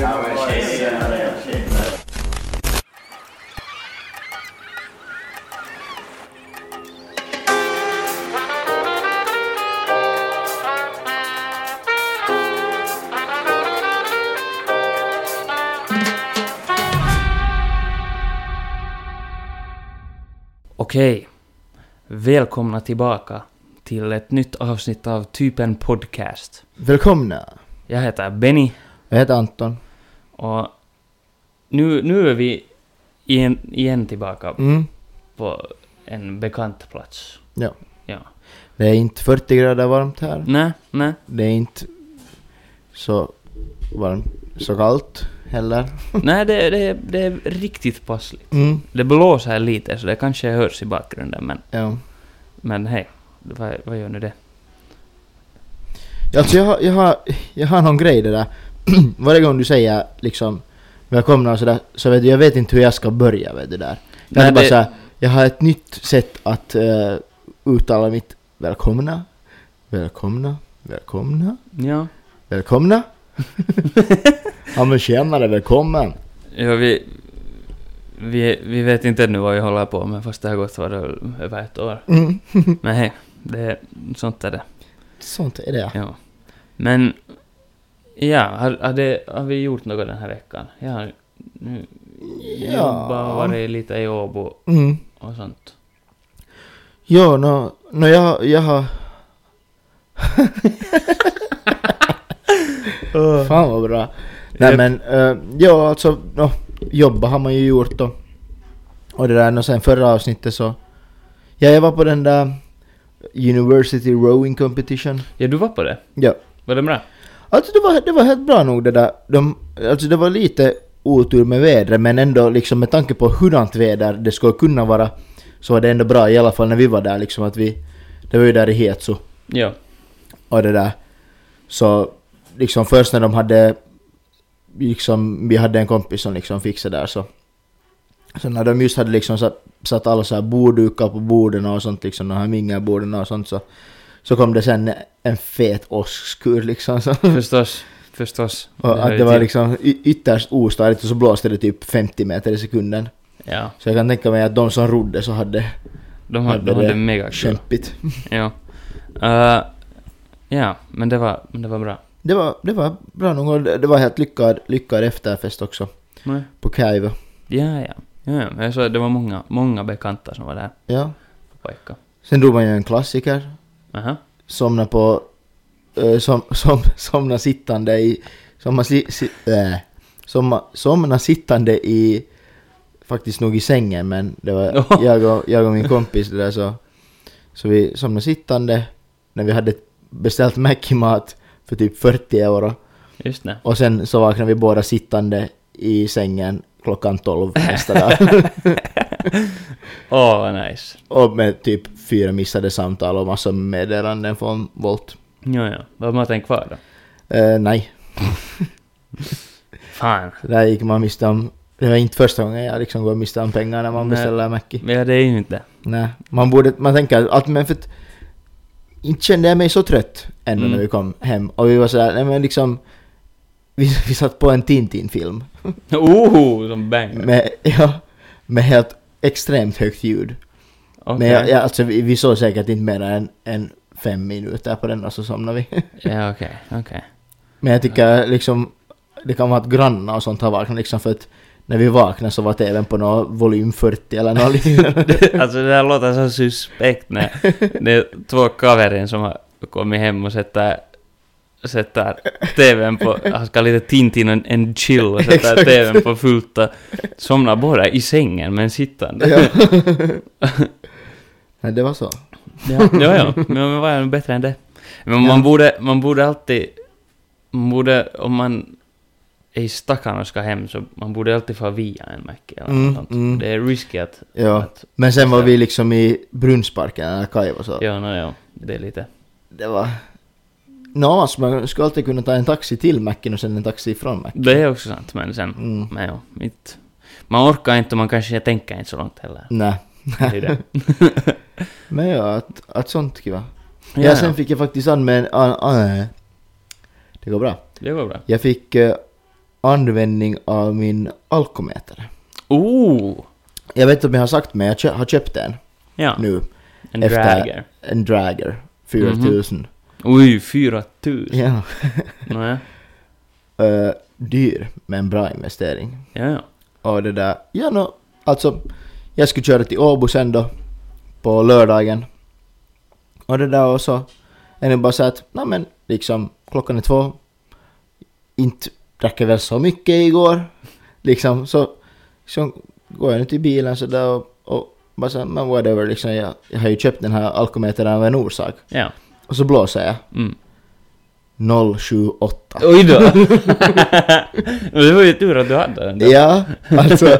Ja, men tjena, tjena. Okej. Välkomna tillbaka till ett nytt avsnitt av Typen Podcast. Välkomna! Jag heter Benny Jag heter Anton. och nu, nu är vi igen, igen tillbaka Mm. på en bekant plats. Ja. Mm. Ja. Det är inte 40 grader varmt här. Nej, nej. Det är inte så varmt, så kallt heller. Nej, det, det, det är riktigt passligt. Mm. Det blåser lite så det kanske hörs i bakgrunden men, Ja. men hej, vad, vad gör nu det? Alltså jag, har- jag, har, jag har någon grej det där. Varje gång du säger liksom välkomna och sådär, så vet du, jag vet inte hur jag ska börja vet du där. Jag, Nej, Nej, bara det- så här, jag har ett nytt sätt att eh, uttala mitt välkomna, välkomna, välkomna, Ja. välkomna. ja men tjenare, välkommen. Ja, vi, vi, vi vet inte ännu vad vi håller på med fast det har gått vad det, över ett år. Mm. Men hej, det, sånt är det. Sånt är det. Ja. Men, ja, har, har, det, har vi gjort något den här veckan? Jag har nu jobbat och varit lite i Åbo Mm. och sånt. Ja, nå, nå jag, jag har... Fan vad bra. Nej Japp. men, eh, ja alltså, nå, jobba har man ju gjort och, och det där, och sen förra avsnittet så... Ja, jag var på den där University Rowing Competition. Ja, du var på det. Ja. Var det bra? Alltså det var, det var helt bra nog det där. De, alltså det var lite otur med vädret men ändå liksom med tanke på hurdant väder det skulle kunna vara så var det ändå bra i alla fall när vi var där liksom att vi... Det var ju där i Hetsu Ja. och det där. Så liksom först när de hade... Liksom, vi hade en kompis som liksom fixade där så... Så när de just hade liksom satt, satt alla så här borddukar på borden och sånt liksom, de här mingelborden och sånt så... Så kom det sen en fet åskskur liksom så. Förstås. Förstås. Och hör att ju det var till. liksom y- ytterst ostadigt och så blåste det typ 50 meter i sekunden. Ja. Så jag kan tänka mig att de som rodde så hade De hade, de Hade hade det mega kul. kämpigt. Ja. Eh, ja, men det var, men det var bra. Det var, det var bra nog och det det var helt lyckad, lyckad efterfest också. Nej. På Kaiva. Ja, ja. ja, ja. Men Jag såg att det var många, många bekanta som var där Ja. på pojkar. Sen drog man ju en klassiker. Aha. Somna på... eh, som, som, somna sittande i... Somna, si, si, äh, somna, somna sittande i... Faktiskt nog i sängen men det var Ja. jag, och, jag och min kompis det där så... Så vi somnade sittande när vi hade beställt Mackie-mat för typ 40 euro. Just det. Och sen så vaknade vi båda sittande i sängen klockan 12 nästa dag. Åh, vad nice. och med typ fyra missade samtal och massor med meddelanden från Volt. Ja, ja. Var maten kvar då? Eh, nej, Fan. Så där gick man miste om... Det var inte första gången jag liksom går miste om pengar när man Nej. beställer Mackie. Men ja, det är ju inte. Nej, man borde... Man tänker att men för att... Inte kände jag mig så trött ändå Mm. när vi kom hem. Och vi var sådär, nej men liksom... Vi, vi satt på en Tintin-film. Oh, som banger. Med, ja, med helt extremt högt ljud. Okej. Men jag, jag, alltså vi, vi såg säkert inte mer än, än fem minuter på den och så somnade vi. Ja, okej. Okej. Men jag tycker liksom, det kan vara att grannar och sånt har vaknat liksom för att när vi vaknade så var tvn på någon volym 40 eller något liknande. Alltså det här låter så suspekt när det är två kaverin som har kommit hem och sätter sätter TVn på, han ska lite Tintin och en chill och sätter Exakt. TVn på fullt och somnar båda i sängen men sittande. ja. Nej, det var så. Ja, ja, ja. Men, men vad är det bättre än det? Men man, Ja. borde, man borde alltid... Man borde, om man är i stackarn och ska hem, så man borde alltid få via en Mac eller Mm, något sånt. mm. Det är risky att... Ja. att Men sen var vi liksom i Brunnsparken eller Kaivo så. ja, no, ja, det är lite... Det var... Nå, alltså man skulle alltid kunna ta en taxi till Macken och sen en taxi ifrån Macken. Det är också sant, men sen... Mm. Men ja, mitt, man orkar inte och man kanske tänker inte så långt heller. Nej. Det är det. Men ja, att, att sånt kiva. Ja, Ja, sen fick jag faktiskt anmäl... An, an, Det går bra. Det var bra. Jag fick eh, användning av min alkometer. Ooh! Jag vet inte om jag har sagt men jag kö- har köpt en Oh! Ja. nu. En efter- dragger. En Dragger 4000. Oj, 4000. Ja. Nåja. Eh, dyr men bra investering. Ja, ja. Och det där, ja nå, alltså jag skulle köra till Åbo sen då på lördagen. Och det där och så är det bara så att, nej men liksom klockan är två. Inte drack jag väl så mycket igår. Liksom så, så går jag nu till bilen så där och, och bara så här, men whatever liksom jag, jag har ju köpt den här alkometern av en orsak. Ja. Och så blåser jag Mm. 078. Oj då! Men det var ju tur att du hade den. där. Ja, alltså. äh,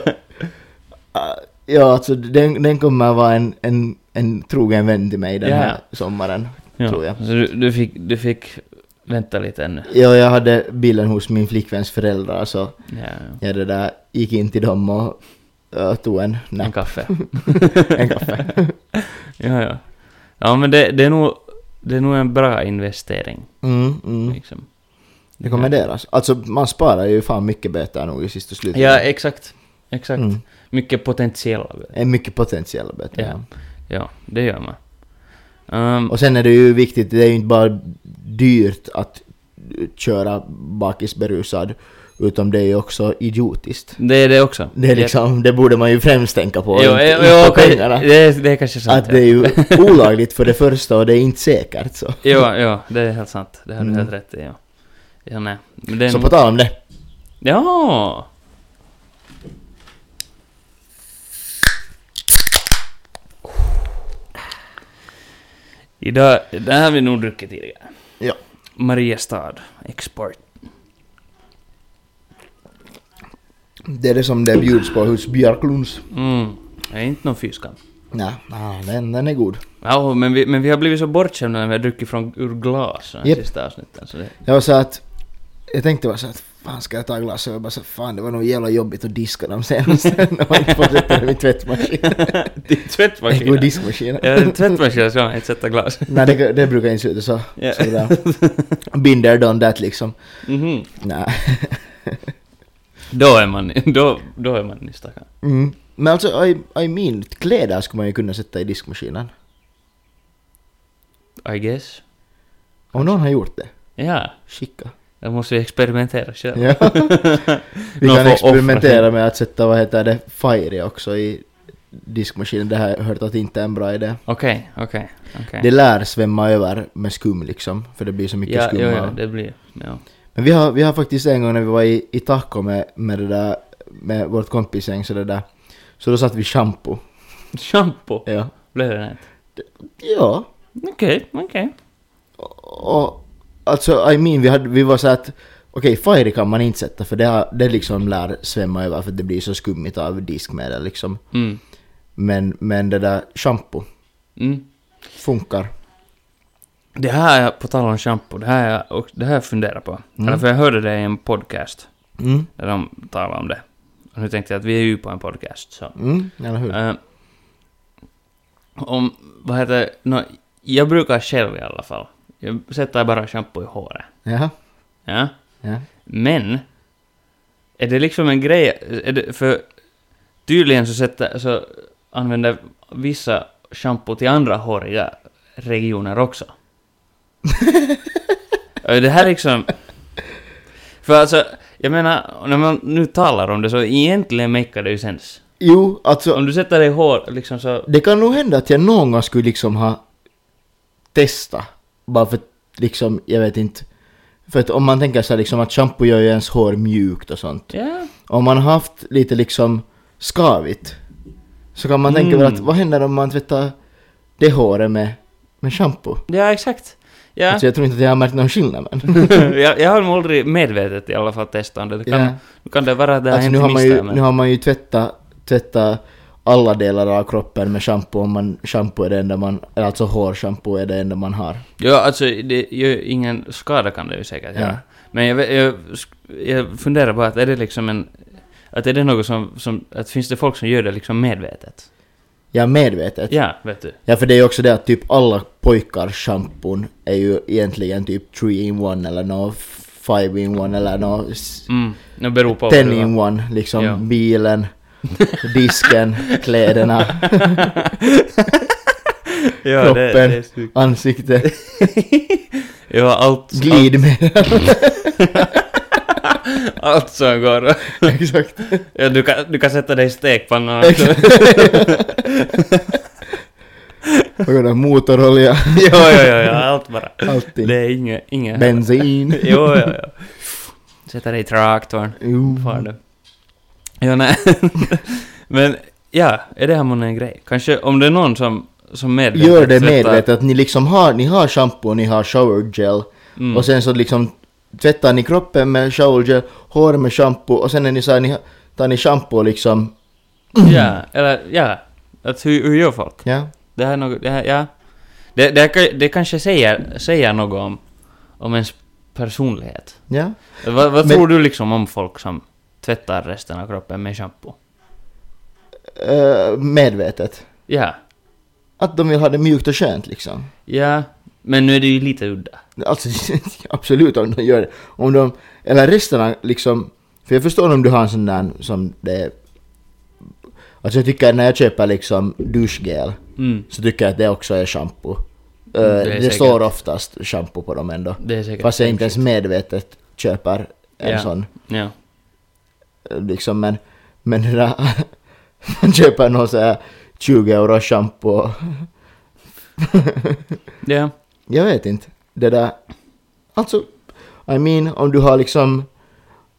ja, alltså den, den kommer vara en, en, en trogen vän till mig den Ja. här sommaren. Ja, tror jag. Så du, du, fick, du fick vänta lite ännu. Ja, jag hade bilen hos min flickväns föräldrar så Ja, ja. jag det där, gick in till dem och äh, tog en En napp. kaffe. En kaffe. Ja, ja. Ja, men det, det, är, nog, det är nog en bra investering. Mm, mm. Liksom. Rekommenderas. Alltså man sparar ju fan mycket böter nog i sista slutet. Ja, exakt. Exakt. Mm. Mycket potentiella. Det är mycket potentiella böter. Ja. Ja. Ja, det gör man. Ehm, Mm. Och sen är det ju viktigt, det är ju inte bara dyrt att köra bakisberusad, utan det är ju också idiotiskt. det är det också. Det, är liksom, det borde man ju främst tänka på, Jo, jo, inte, jo, inte på okej, pengarna. det, är- det är kanske sant. Att det är ju olagligt för det första och det är inte säkert så. ja. Jo, jo, det är helt sant. Det har du Mm. helt rätt i. Ja. Ja, nej. Men det är Så nog- på tal om det. Ja! Idag, det här har vi nog druckit tidigare. Ja. Mariestad Export. Det är det som det bjuds på hos Björklunds. Mm. Det är inte någon fyskam. Nej, nej, den, den är god. Ja, men vi, men vi har blivit så bortskämda när vi har druckit från ur glas de här Japp. sista avsnitten. Så det, Jag var så att... Jag tänkte bara så att fan ska jag ta glas? Och jag bara så fan det var nog jävla jobbigt att diska dem senast. När man inte får sätta dem i tvättmaskinen. Din Jag går tvättmaskin. diskmaskinen. Ja, tvättmaskinen ska man inte sätta glas. Nej, det, det brukar inte se ut så. Ja. så där. Binder done that liksom. Mhm. Nej. Då är man, då, då är man nystagare. Mm. Men alltså, I, I mean, kläder skulle man ju kunna sätta i diskmaskinen. I guess. Om någon har gjort det, Ja. skicka. Då måste vi experimentera själva. Ja. Vi Någon kan får experimentera offra med att sätta, vad heter det, Fire också i diskmaskinen. Det här har jag hört att inte är en bra idé. Okej, okej, Det okej. lär svämma över med skum liksom, för det blir så mycket Ja, skum. jo, ja, av- det blir... Ja. Men vi har, vi har faktiskt en gång när vi var i, i Taco med, med, det där, med vårt kompisgäng så det där, så då satt vi shampoo. Shampoo Ja. blev det nätt. Ja. Okej, okej. Och, alltså, I mean, vi, hade, vi var så att okej, Fire kan man inte sätta för det, har, det liksom lär svämma över för det blir så skummigt av diskmedel liksom. Mm. Men, men det där shampoo Mm. funkar. Det här, på tal om shampoo, det här jag, och det här jag funderar på. Mm. Eller för jag hörde det i en podcast, Mm, där de talade om det. Och nu tänkte jag att vi är ju på en podcast, så... mm, eller hur? Eh, om, vad heter det? nå, jag brukar själv i alla fall. Jag sätter bara shampoo i håret. Jaha. Ja? Ja. Men, är det liksom en grej, är det, för tydligen så, sätter, så använder vissa shampoo till andra håriga regioner också. Och det här liksom... För alltså, jag menar, när man nu talar om det så egentligen makar det ju sens. Jo, alltså Om du sätter dig i hår, liksom så... det kan nog hända att jag någon gång skulle liksom ha testat. Bara för att liksom, jag vet inte. För att om man tänker så här liksom att shampoo gör ju ens hår mjukt och sånt. Ja. om man har haft lite liksom skavigt så kan man tänka Mm. väl att vad händer om man tvättar det håret med, med shampoo? Ja, exakt. Ja. Alltså jag tror inte att jag har märkt någon skillnad men. jag, jag har nog aldrig medvetet i alla fall testat om det. Det kan, Ja. kan det vara att det har Alltså, hänt nu, har man ju, misstag, nu har man ju tvättat, tvättat alla delar av kroppen med shampoo om man, shampoo är det enda man, eller alltså hårshampoo är det enda man har. Ja, alltså det gör ingen skada kan det ju säkert Ja. göra. Men jag, vet- jag, jag funderar på att är det liksom en... Att är det något som, som... Att finns det folk som gör det liksom medvetet? Ja, medvetet. Ja. Ja, vet du. för det är ju också det att typ alla pojkars shampoon är ju egentligen typ 3 in 1 eller något five in one eller no, s- Mm. Det beror på. vad ten du har. in one, liksom Ja. bilen, disken, kläderna, ja, det, det är kroppen. snyggt. ansiktet, Ja, allt, allt, glidmedel. allt som går. Exakt. Ja, du, kan, du kan sätta dig i stekpannan. Vad går det? Motorolja, ja, ja, ja, ja, allt bara. Det allting. är inget... inget. Bensin. jo, ja, ja. Sätta dig i traktorn. Jo. Far du. Mm. Ja, nej. Men ja, är det här månne en grej? Kanske om det är någon som, som medvetet Gör det sätter- medvetet att ni liksom har, ni har shampoo, ni har shower gel Mm. och sen så liksom tvättar ni kroppen med shower gel, håret med shampoo och sen när ni så här, ni, tar ni shampoo liksom, Ja, eller ja. Att hur, hur gör folk? ja. Det här är något, det här, ja. Det, det, här, kan- det kanske säger, säger något om, om ens personlighet. Ja. Vad, vad Men- tror du liksom om folk som tvättar resten av kroppen med shampoo? Eh, medvetet. Ja, Att de vill ha det mjukt och skönt liksom. ja. Men nu är det ju lite udda. Alltså absolut om de gör det. Om de, eller resten av liksom, för jag förstår om du har en sån där som det Alltså jag tycker när jag köper liksom duschgel Mm. så tycker jag att det också är shampoo. Eh, är det säkert. står oftast shampoo på dem ändå. Det är säkert. Fast jag inte ens medvetet köper en Ja. sån. Ja. eh, Liksom men, men det där, man köper någon så här 20 euro shampoo. Ja. Jag vet inte. Det där... Alltså, I mean, om du har liksom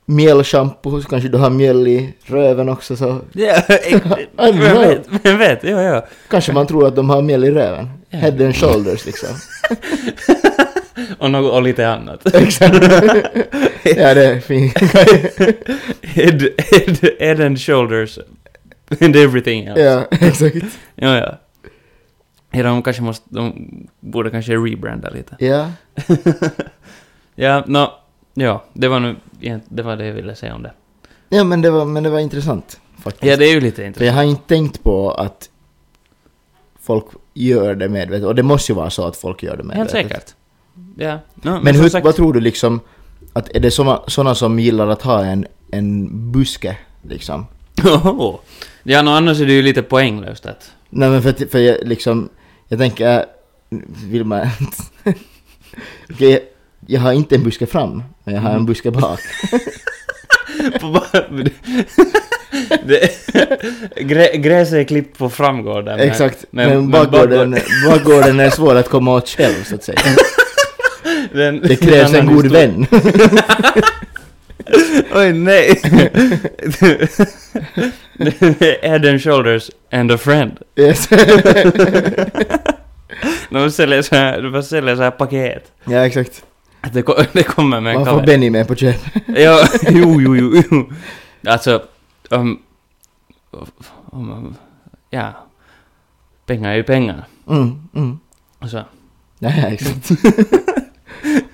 mjällschampo så kanske du har mjöl i röven också så Ja, don't vem know. vet? Vem vet? Ja, ja. kanske man tror att de har mjöl i röven. Ja. Head and shoulders liksom. Och, något, och lite annat. ja, det är fint. head, head, head and shoulders and everything else. ja, exakt. Ja, ja. ja de kanske måste, de borde kanske rebranda lite. Ja, Ja, nå, ja, det var nu, egent- det var det jag ville säga om det. ja men, det var, men det var intressant faktiskt. Ja, det är ju lite För jag intressant. har inte tänkt på att folk gör det medvetet. Och det måste ju vara så att folk gör det Helt medvetet. säkert. Ja. nå, Men som hur, sagt- vad tror du liksom, att är det såna, såna som gillar att ha en, en buske liksom? Oho. Ja, nå, annars är det ju lite poänglöst att... Nej men för, att- för jag liksom, jag tänker, äh, vill man Okej, jag, jag har inte en buske fram, men jag har en buske bak. På bara- det, grä, gräset är klippt på framgården. men- Exakt, men, bakgården, bakgården är svår att komma åt själv så att säga. den- Det krävs en annan god historia. vän. Oj, nej! Head and shoulders and a friend. Yes. De säljer så här, de bara säljer så här paket. ja exakt, Att Det, ko- det kommer med en man får kavaj. Benny med på köp. Ja, jo, jo, jo, jo. Alltså, om... om ja. Pengar är ju pengar. Mm, mm. Alltså, Ja, ja, exakt.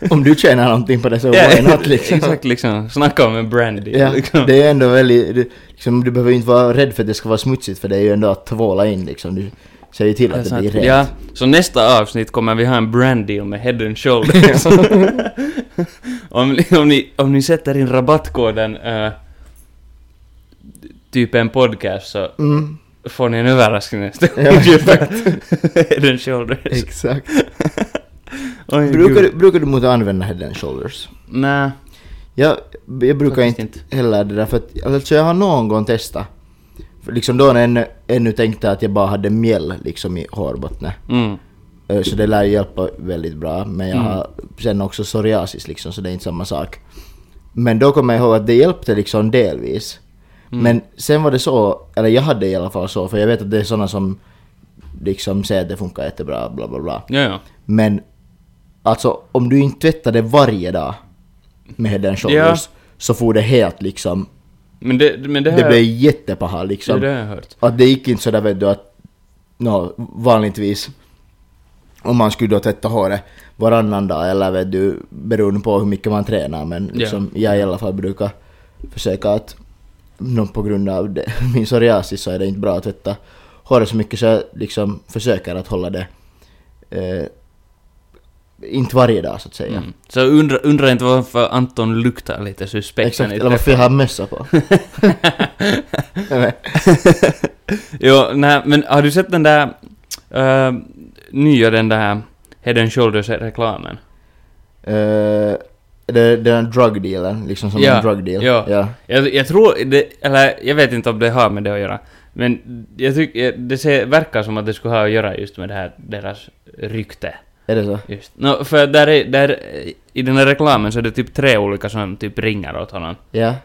Om du tjänar någonting på det så why not liksom? Exakt, liksom. Snacka om en brandy. Ja, liksom. det är ändå väldigt... Du, liksom, du behöver ju inte vara rädd för att det ska vara smutsigt för det är ju ändå att tvåla in liksom. Du ser ju till Ja, att så det blir att- rent. Ja, så nästa avsnitt kommer vi ha en brand deal med Head and Shoulders. om, ni- om, ni, om ni sätter in rabattkoden eh, typ en podcast så Mm, får ni en överraskning nästa Ja, gång. Head and Shoulders. exakt. Oj, brukar, gud. du, brukar du mot att använda head and shoulders? Nej, Jag, jag brukar faktiskt inte heller det där för att... Alltså jag har någon gång testat. För liksom då när jag ännu, ännu tänkte att jag bara hade mjäll liksom i hårbotten. Mm. Eh, Så det lär hjälpa väldigt bra. Men jag Mm. har sen också psoriasis liksom, så det är inte samma sak. Men då kommer jag ihåg att det hjälpte liksom delvis. Men sen var det så, eller jag hade i alla fall så, för jag vet att det är såna som liksom säger att det funkar jättebra, bla bla bla. Ja, ja. Men alltså om du inte tvättar det varje dag med head and shoulders så får det helt liksom, Men det, men det, det, har jag- blev jättepaha liksom. det har jag hört. Att det gick inte sådär vet du att, nå vanligtvis om man skulle då tvätta håret varannan dag eller vet du, beroende på hur mycket man tränar men Ja. liksom, jag i alla fall brukar försöka att, nå, på grund av det, min psoriasis så är det inte bra att tvätta håret så mycket så jag liksom försöker att hålla det eh, inte varje dag så att säga. Mm. Så undra, undra inte varför Anton luktar lite suspekt. Exakt, när ni eller varför jag har mössa på. Nej, Jo, nej, men har du sett den där uh, nya, den där Head and Shoulders-reklamen? men, eh, det, det är en drug dealen, liksom som Ja, en drug deal. ja. Ja. Jag, jag tror, det, eller jag vet inte om det har med det att göra, men jag tycker, det ser, verkar som att det skulle ha att göra just med det här, deras rykte. Är det så? Just. No, för där, är, där i den här reklamen så är det typ tre olika som typ ringer åt honom Ja.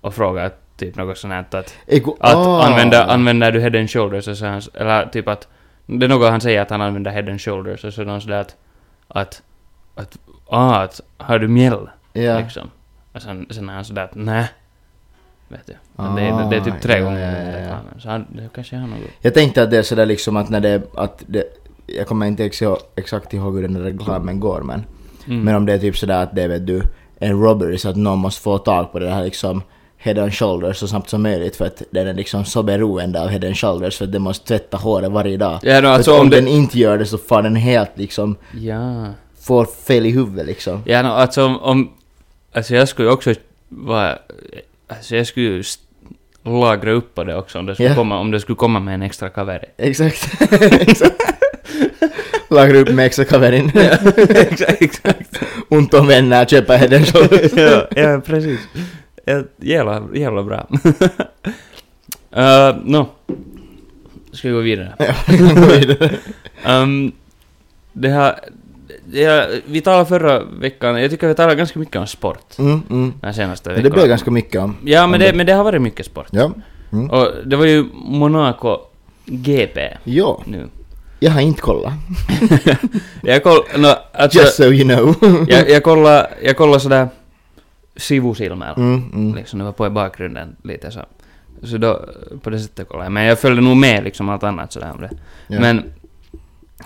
och frågar typ något sånt här att Eko- Att Ah. använda, använder du head and shoulders och så han, eller typ att, det är något han säger att han använder head and shoulders och så är någon sådär att, att, att, ah, att, har du mjäll? Ja. Liksom. Och sen, sen är han sådär att, nä. Vet du. Men det, är- det är typ tre Ah, ja, gånger ja, ja, den ja. reklamen. Så han, det kanske har något. Jag tänkte att det är sådär liksom att när det, att det jag kommer inte ex- exakt ihåg hur den där reklamen går men, Mm. men om det är typ sådär att det är vet du, en robbery så att någon måste få tag på det här liksom head and shoulders så snabbt som möjligt för att den är liksom så beroende av head and shoulders för att den måste tvätta håret varje dag. Ja, no, För att alltså om om det... den inte gör det så får den helt liksom, Ja. får fel i huvudet liksom. Ja, no, alltså om, om... Alltså jag skulle ju också vara... Alltså jag skulle ju st- lagra upp på det också om det skulle, Ja. komma, om det skulle komma med en extra kaveri. Exakt. Exakt. Lagar upp med extra kaverin. exakt, exakt. Ont om vänner, köper head and shoulders. ja, ja, precis. Ja, Jävla, jävla bra. uh, Nå. Ska vi gå vidare? Ehm, det här... Det här, vi talade förra veckan, jag tycker vi talade ganska mycket om sport Mm, mm. den här senaste Men veckan. det blev ganska mycket om. Ja, om men det, men det har varit mycket sport. Ja. Mm. Och det var ju Monaco GP Ja, nu. jag har inte kollat. Jag koll... No, alltså, Just so you know. jag, jag kollade jag kolla sådär sivosilmällä. Mm, mm. Liksom det var på i bakgrunden lite så. Så då, på det sättet kollade jag. Men jag följde nog med liksom allt annat sådär om det. Ja. Men,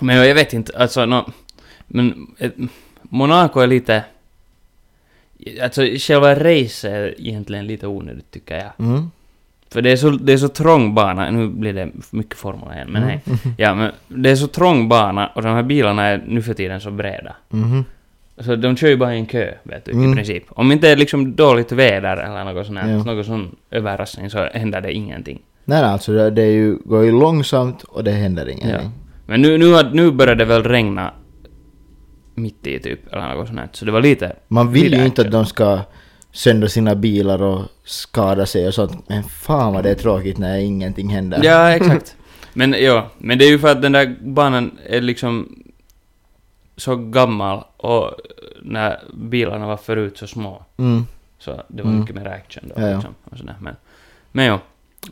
men jag vet inte, alltså nå... men eh, Monaco är lite... Alltså själva racet är egentligen lite onödigt tycker jag. Mm. För det är, så, det är så trång bana, nu blir det mycket Formel 1, men hej. Ja, men det är så trång bana och de här bilarna är nu för tiden så breda. Mhm. Så de kör ju bara i en kö, vet du, Mm. i princip. Om inte det är liksom dåligt väder eller något sånt här, Ja. något sån överraskning så händer det ingenting. Nej, nej, alltså det, det är ju, går ju långsamt och det händer Ja. ingenting. Men nu, nu, har- nu började det väl regna mitt i typ, eller något sånt här. Så det var lite... Man vill lite ju inte att action. de ska sönder sina bilar och skada sig och sånt. Men fan vad det är tråkigt när ingenting händer. Ja, exakt. Men ja, men det är ju för att den där banan är liksom så gammal och när bilarna var förut så små Mm. så det var Mm. mycket mer action då Ja, ja. liksom. Och sådär. Men, men ja.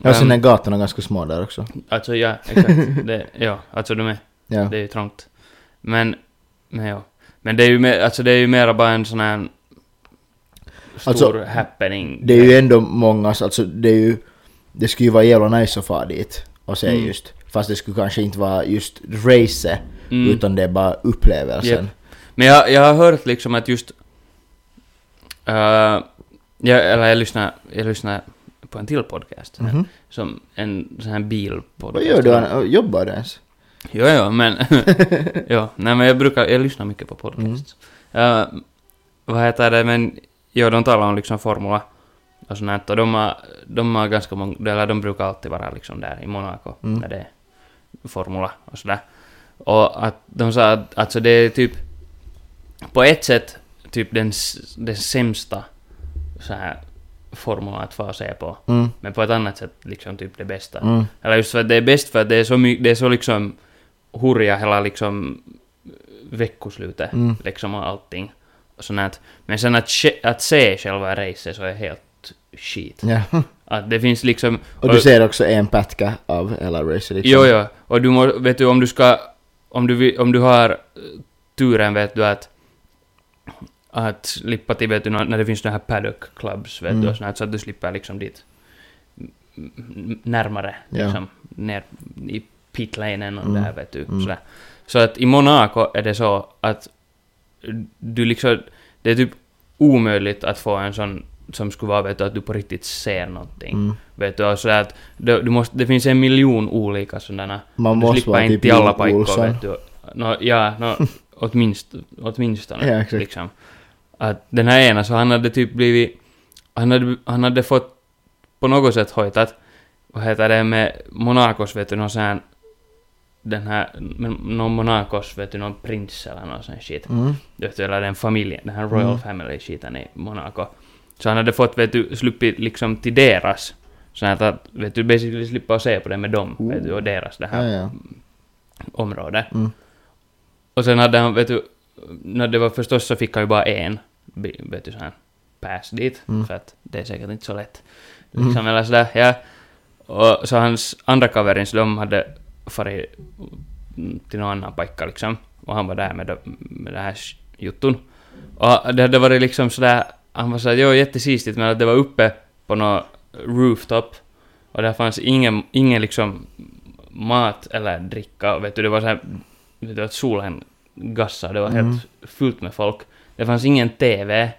Ja, och sen Ehm, är gatorna ganska små där också. Alltså ja, exakt. Det, ja, alltså de är, Ja. det är ju trångt. Men, men ja. Men det är ju mer, alltså det är ju mera bara en sån här stor Alltså, happening. Det är ju ändå många, alltså det är ju... Det skulle ju vara jävla nice att fara dit och se Mm. just. Fast det skulle kanske inte vara just race Mm. utan det är bara upplevelsen. Japp. Men jag, jag har hört liksom att just... eh, jag, eller jag lyssnar, jag lyssnar på en till podcast. Mhm. Som en sån här bilpodcast. Vad gör du? Anna? Jobbar du ens? Jo, jo, men... jo, nej, men jag brukar... Jag lyssnar mycket på podcasts. Eh, vad heter det, men... Jo, de talar om liksom formula och sånt här, och de har, de har ganska många... Eller de brukar alltid vara liksom där i Monaco Mm. när det är formula och sådär. Och att de sa att alltså det är typ... På ett sätt typ den, s- den sämsta så här formula att få se på. Mm. Men på ett annat sätt liksom typ det bästa. Mm. Eller just för att det är bäst för att det är så mycket, det är så liksom hurja hela liksom veckoslutet Mm. liksom och allting. Och sånt här. Men sen att, ske- att se själva racet så är helt shit. Ja. Att det finns liksom... Och du ser också en patka av hela racet liksom. Jo, jo. Och du må, vet du om du ska... Om du, vi- om du har eh, turen vet du att... Att slippa till vet du nå- när det finns de här paddock clubs vet Mm. du och sånt här, så att du slipper liksom dit m- m- närmare Ja. liksom ner i pitlanen och Mm. där vet du Mm. sådär. Så att i Monaco är det så att du liksom det är typ omöjligt att få en sån som skulle vara vet du att du på riktigt ser någonting. Mm. Vet du, och så att du, du måste, det finns en miljon olika sådana. Man du måste slipper vara inte typ i alla Jim pojkar, Olsson. vet du. No, ja, no, åtminst, åtminstone. Ja, exakt. liksom. Att den här ena, så han hade typ blivit... Han hade, han hade fått på något sätt hojtat, vad heter det, med Monacos vet du, någon sån här... Den här, men någon Monacos vet du, någon prins eller någon sån shit. Mm. Vet du, eller den familjen, den här Royal Mm. Family-skiten i Monaco. Så han hade fått, vet du, sluppit liksom till deras. Så här att, vet du, basically slippa se på det med dem, Ooh. vet du, och deras det Ja, här ja. området. Mm. Och sen hade han, vet du, när det var förstås så fick han ju bara en, bi- vet du, så här pass dit, Mm. för att det är säkert inte så lätt. Mm. Liksom, eller sådär, ja. Och så hans andra kaverins, de hade farit mm, till någon annan pajka liksom, och han var där med, de- med den här sh- jutton. Och det hade varit liksom sådär, han var såhär, jo jättesistigt, men att det var uppe på någon rooftop, och där fanns ingen, ingen liksom mat eller dricka, och vet du, det var såhär, vet du, att solen gassade, det var helt Mm. fullt med folk. Det fanns ingen TV.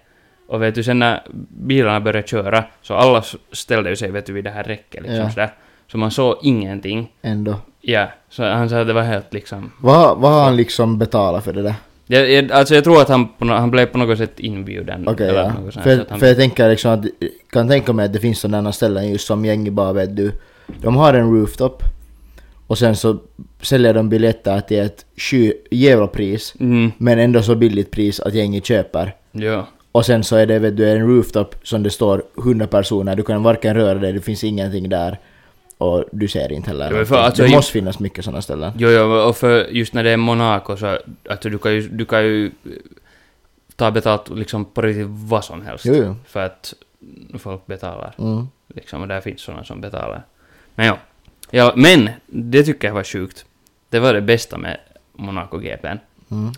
Och vet du, sen när bilarna började köra, så alla s- ställde ju sig vet du, vid det här räcket liksom Ja. sådär. Så man såg ingenting. Ändå. Ja, så han sa att det var helt liksom... Vad, vad har han liksom betalat för det där? Jag, jag, alltså jag tror att han, på, nå- han blev på något sätt inbjuden. Okej, eller ja. något sånt här, så att För, han, för jag tänker liksom att, kan tänka mig att det finns sådana ställen just som gäng bara vet du, de har en rooftop och sen så säljer de biljetter till ett sky, jävla pris Mm, men ändå så billigt pris att gänget köper. ja. Och sen så är det vet du, en rooftop som det står 100 personer, du kan varken röra dig, det finns ingenting där och du ser inte heller. Det var för- någonting. alltså, det i- måste finnas mycket sådana ställen. Jo, jo, och för just när det är Monaco så, alltså du kan ju, du kan ju eh, ta betalt liksom på riktigt vad som helst. Jo, jo. För att folk betalar. Mm. Liksom, och där finns sådana som betalar. Men ja. ja. Men, det tycker jag var sjukt. Det var det bästa med Monaco-GPn. Mm.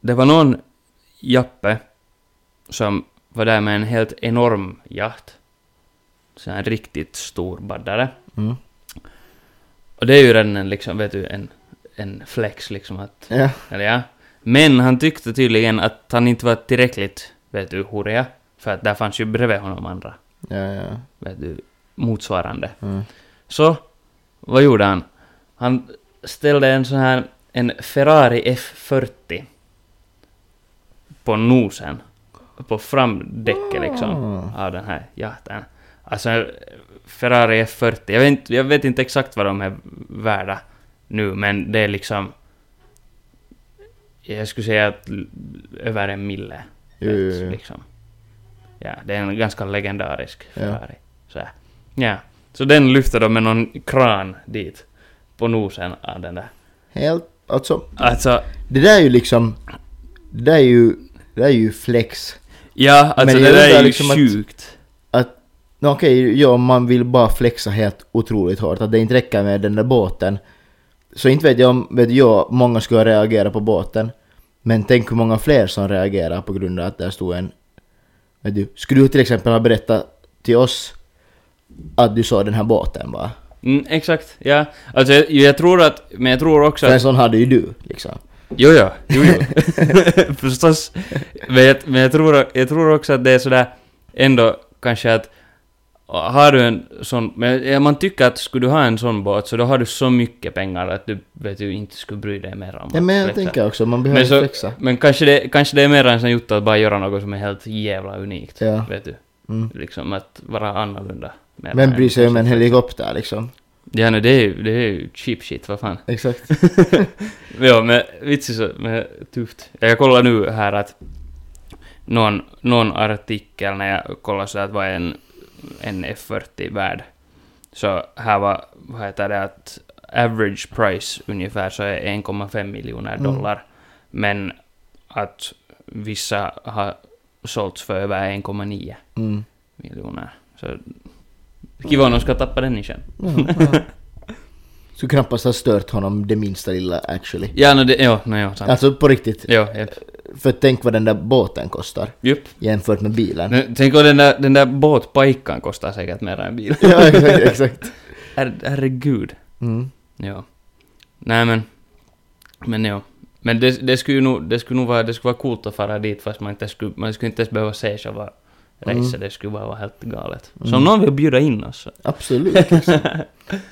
Det var någon jappe som var där med en helt enorm yacht. Så en riktigt stor baddare. Mm. Och det är ju redan en, liksom, vet du, en, en flex liksom att... Ja. Eller ja. Men han tyckte tydligen att han inte var tillräckligt, vet du, horiga. För att där fanns ju bredvid honom andra, Ja, ja. vet du, motsvarande. Mm. Så, vad gjorde han? Han ställde en sån här, en Ferrari F40 på nosen, på framdäcket liksom, Mm. av den här jahten. Alltså, Ferrari F40, jag vet, inte- jag vet inte exakt vad de är värda nu, men det är liksom... Jag skulle säga att l- över en mille. Jo, jo, jo. Liksom. Ja, det är en ganska legendarisk Ja. Ferrari. Så, här. ja. så den lyfter de med någon kran dit. På nosen av den där. Helt, alltså Alltså, Det där är ju liksom... Det där är ju, det där är ju flex. ja, alltså Men det jag där undrar är ju liksom att- sjukt. Att, no, okej, ja, man vill bara flexa helt otroligt hårt. Att det inte räcker med den där båten. Så inte vet jag om, vet jag, många skulle reagera på båten. Men tänk hur många fler som reagerar på grund av att där stod en... Vet du, skulle du till exempel ha berättat till oss att du såg den här båten bara? Mm, exakt, ja. Alltså jag, jag tror att, men jag tror också För en att... sån hade ju du liksom. Jo, jo, jo, jo. Förstås. Men, jag, men jag, tror, jag tror också att det är sådär ändå kanske att har du en sån, men ja, man tycker att skulle du ha en sån båt så då har du så mycket pengar att du vet du inte skulle bry dig mer om Ja, att men jag flexa. tänker också, man behöver Men så- flexa. Men kanske det, kanske det är mer en sån jutta att bara göra något som är helt jävla unikt. Ja. Vet du. Mm. Liksom att vara annorlunda. mer Men än- bryr sig om en helikopter liksom. Ja, nej, det är ju, det är ju cheap shit, vad fan. Exakt. Ja, men vitsigt så, men tufft. Jag kollar nu här att någon, någon artikel när jag kollar så att vad är en, en F40 värd. Så här var, vad heter det, att average price ungefär så är 1,5 miljoner dollar. Men att vissa har sålts för över 1,9 Mm. miljoner. Så kiva om de ska tappa den i kön. Så knappast har stört honom det minsta lilla actually. Ja, no, det, ja, no, ja, sant. Alltså på riktigt. Ja, japp. För tänk vad den där båten kostar Jupp. jämfört med bilen. Nu, tänk om den där, den där båtpajkan kostar säkert mer än bil. ja, exakt. exakt. Her, herregud. Mm. Ja. Nej men. Men ja. Men det, det skulle ju nog, det skulle nog vara, det skulle vara coolt att fara dit fast man inte skulle, man skulle inte ens behöva se själva Mm. racet, det skulle bara vara helt galet. Så Mm. om någon vill bjuda in oss så. Absolut. Liksom.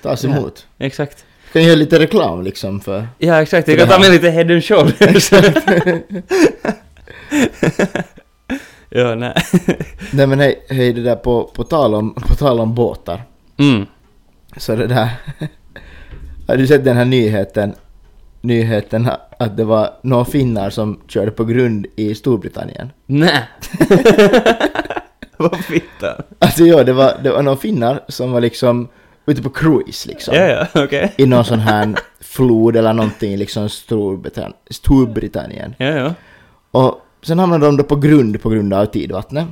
Tas emot. Exakt. kan göra lite reklam liksom för... Ja exakt, jag För kan det ta här. med lite head and shoulders. ja, nej. Nej men hej, hej det där på, på, tal om, på tal om båtar. Mm. Så det där... Har du sett den här nyheten? Nyheten att det var några finnar som körde på grund i Storbritannien. Nej. Vad fitta. Alltså ja, det var, det var några finnar som var liksom ute på cruise liksom. Ja, ja, okej. I någon sån här flod eller någonting liksom Storbritann- Storbritannien. Ja, ja. Och sen hamnade de då på grund på grund av tidvattnet.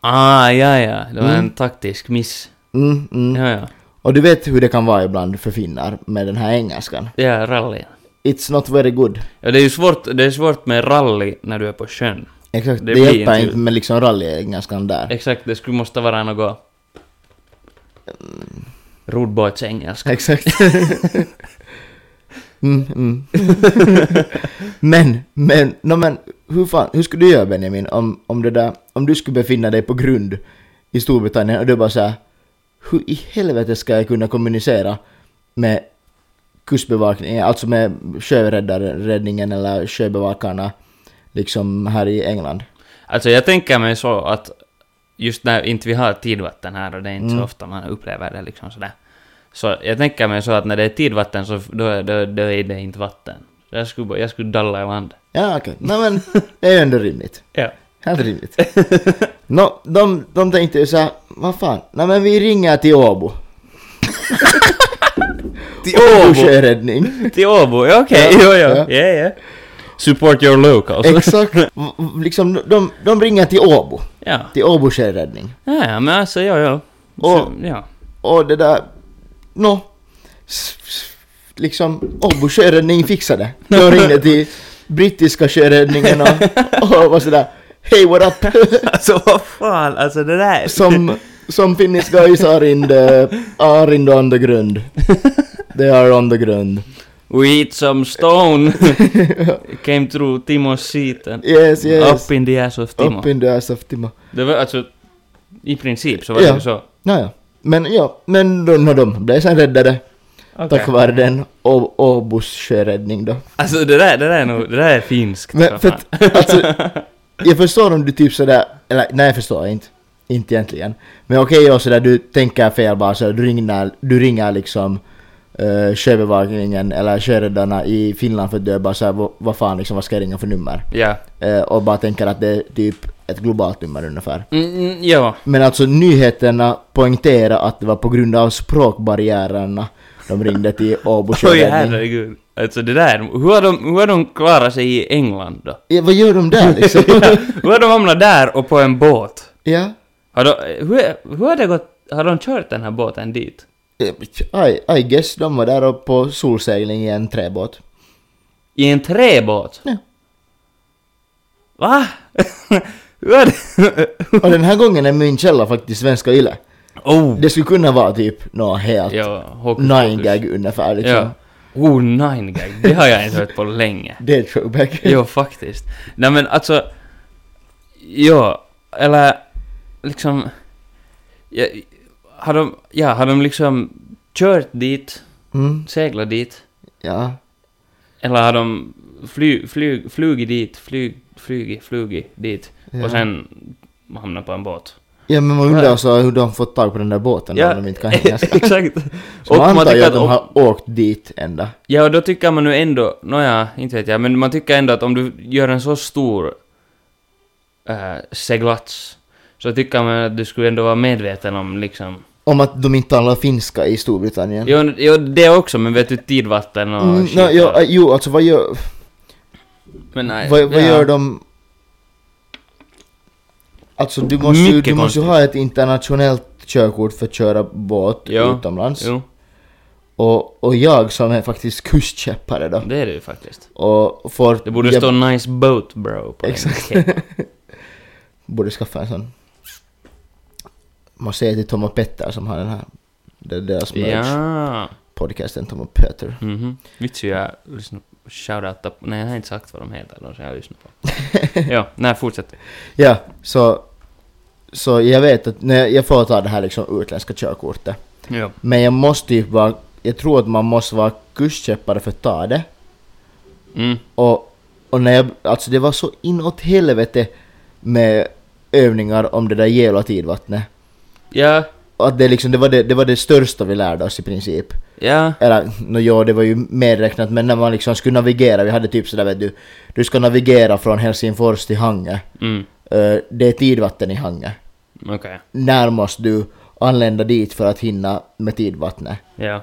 Ah, ja, ja. Det var en taktisk miss. Mm, mm. Ja, ja. Och du vet hur det kan vara ibland för finnar med den här engelskan. Ja, rally. It's not very good. Ja, det är ju svårt, det är svårt med rally när du är på sjön. Exakt, Det det, blir hjälper inte- inte med liksom rallyengelskan där. Exakt, det skulle måste vara något... Roddbåtsengelska. Exakt. mm, mm. men, men, no, men hur fan, hur skulle du göra Benjamin om, om det där, om du skulle befinna dig på grund i Storbritannien och du bara såhär, hur i helvete ska jag kunna kommunicera med kustbevakningen, alltså med sjöräddningen eller sjöbevakarna liksom här i England? Alltså jag tänker mig så att just när inte vi har tidvatten här och det är inte så ofta man upplever det liksom sådär. Så jag tänker mig så att när det är tidvatten så f- då, är- då, då är det inte vatten. Så Jag skulle, bara- jag skulle dalla i land. Ja okej, nej men det är ju ändå rimligt. Ja. Helt rimligt. Nå, de, de tänkte ju såhär, vad fan, nej men vi ringer till Åbo. Till Åbo Åbo! sjöräddning. Till Åbo, ja okej, Ja, jo, ja. jo, ja, ja. Support your locals. Exakt. V- v- liksom, de, de ringer till Åbo. ja. Till Åbo sjöräddning. ja, ja, men alltså ja, ja. Så, Och- ja. Och det där, nå. s- s- Liksom, Åbo sjöräddning fixade. De ringde till brittiska sjöräddningen och, och var sådär, hey what up? Alltså vad fan, alltså det där... Som, som Finnish guys are in the, are in the underground. They are on the ground. We eat some stone! Came through Timos seat and Yes, yes. up in the ass of Timo. Up in the ass of Timo. Det var alltså... I princip så var det Ja. ju så. Naja. Men ja, men de, no, de blev sen räddade tack vare den Å- Åbos sjöräddning då. Alltså det där, det där är nog, det där är finskt. Men för att, alltså, jag förstår om du typ sådär, eller nej jag förstår inte. Inte egentligen. Men okej ja, sådär du tänker fel bara så du ringer, du ringer liksom uh, sjöbevakningen eller sjöräddarna i Finland för att du är bara såhär vad, vad fan liksom vad ska jag ringa för nummer? Ja. Eh, och bara tänker att det är typ ett globalt nummer ungefär. Mm, ja. Men alltså nyheterna poängterar att det var på grund av språkbarriärerna de ringde till Åbo Oj sjöräddning. herregud. Alltså det där, hur har de, hur har de klarat sig i England då? Ja, vad gör de där liksom? Ja, hur har de hamnat där och på en båt? ja. Har de, hur, hur har det gått, har de kört den här båten dit? Eh, I, I guess de var där och på solsegling i en träbåt. I en träbåt? Ja. Va? hur har det... Och den här gången är min källa faktiskt svenska yle. oh! Det skulle kunna vara typ något helt Ja, hokus nine pokus. gag ungefär liksom. Ja. Oh, nine gag. Det har jag inte hört på länge. Det är throwback. Jo, faktiskt. Nej men alltså... Ja, eller liksom... Ja, har de, ja, har de liksom kört dit, Mm, seglat dit? ja. Eller har de fly, fly, flugit dit, flyg, flugit, flugit dit Ja. och sen hamnat på en båt? ja men man undrar så hur de fått tag på den där båten om de inte kan hänga. exakt. Så man antar ju tycker att de om- har åkt dit ända. Ja, och då tycker man ju ändå, nåja, inte vet jag, men man tycker ändå att om du gör en så stor äh, seglats så tycker man att du skulle ändå vara medveten om liksom... Om att de inte talar finska i Storbritannien. Jo, jo det också, men vet du, tidvatten och Mm, skit no, jo, och- äh, jo, alltså vad gör, men, nej, vad, vad ja. gör de... Alltså du måste, ju, Mycket du måste konstigt. ju ha ett internationellt körkort för att köra båt Ja, utomlands. Jo, Och, och jag som är faktiskt kustskeppare då. det är det ju faktiskt. Och får... Det borde jag stå 'Nice boat bro' på Exakt. den. Okej. borde skaffa en sån. Man säger till Tom och Petter som har den här. Det är deras merch. Ja. Podcasten Tom och Petter. Mhm. Vitsi, jag lyssnar på shoutouta... Nej, jag har inte sagt vad de heter, de som jag lyssnar på. ja, nej, fortsätt. Ja, så... Så jag vet att när jag får ta det här liksom utländska körkortet. Ja. Men jag måste ju bara, jag tror att man måste vara kustköpare för att ta det. Mm. Och, och när jag, alltså det var så inåt helvete med övningar om det där gelatidvattnet. Ja, Att det, liksom, det, var det, det var det största vi lärde oss i princip. ja, Eller no, ja, det var ju medräknat men när man liksom skulle navigera, vi hade typ sådär vet du, du ska navigera från Helsingfors till Hange. mm. Eh, det är tidvatten i Hange. okej, När måste du anlända dit för att hinna med tidvattnet? ja.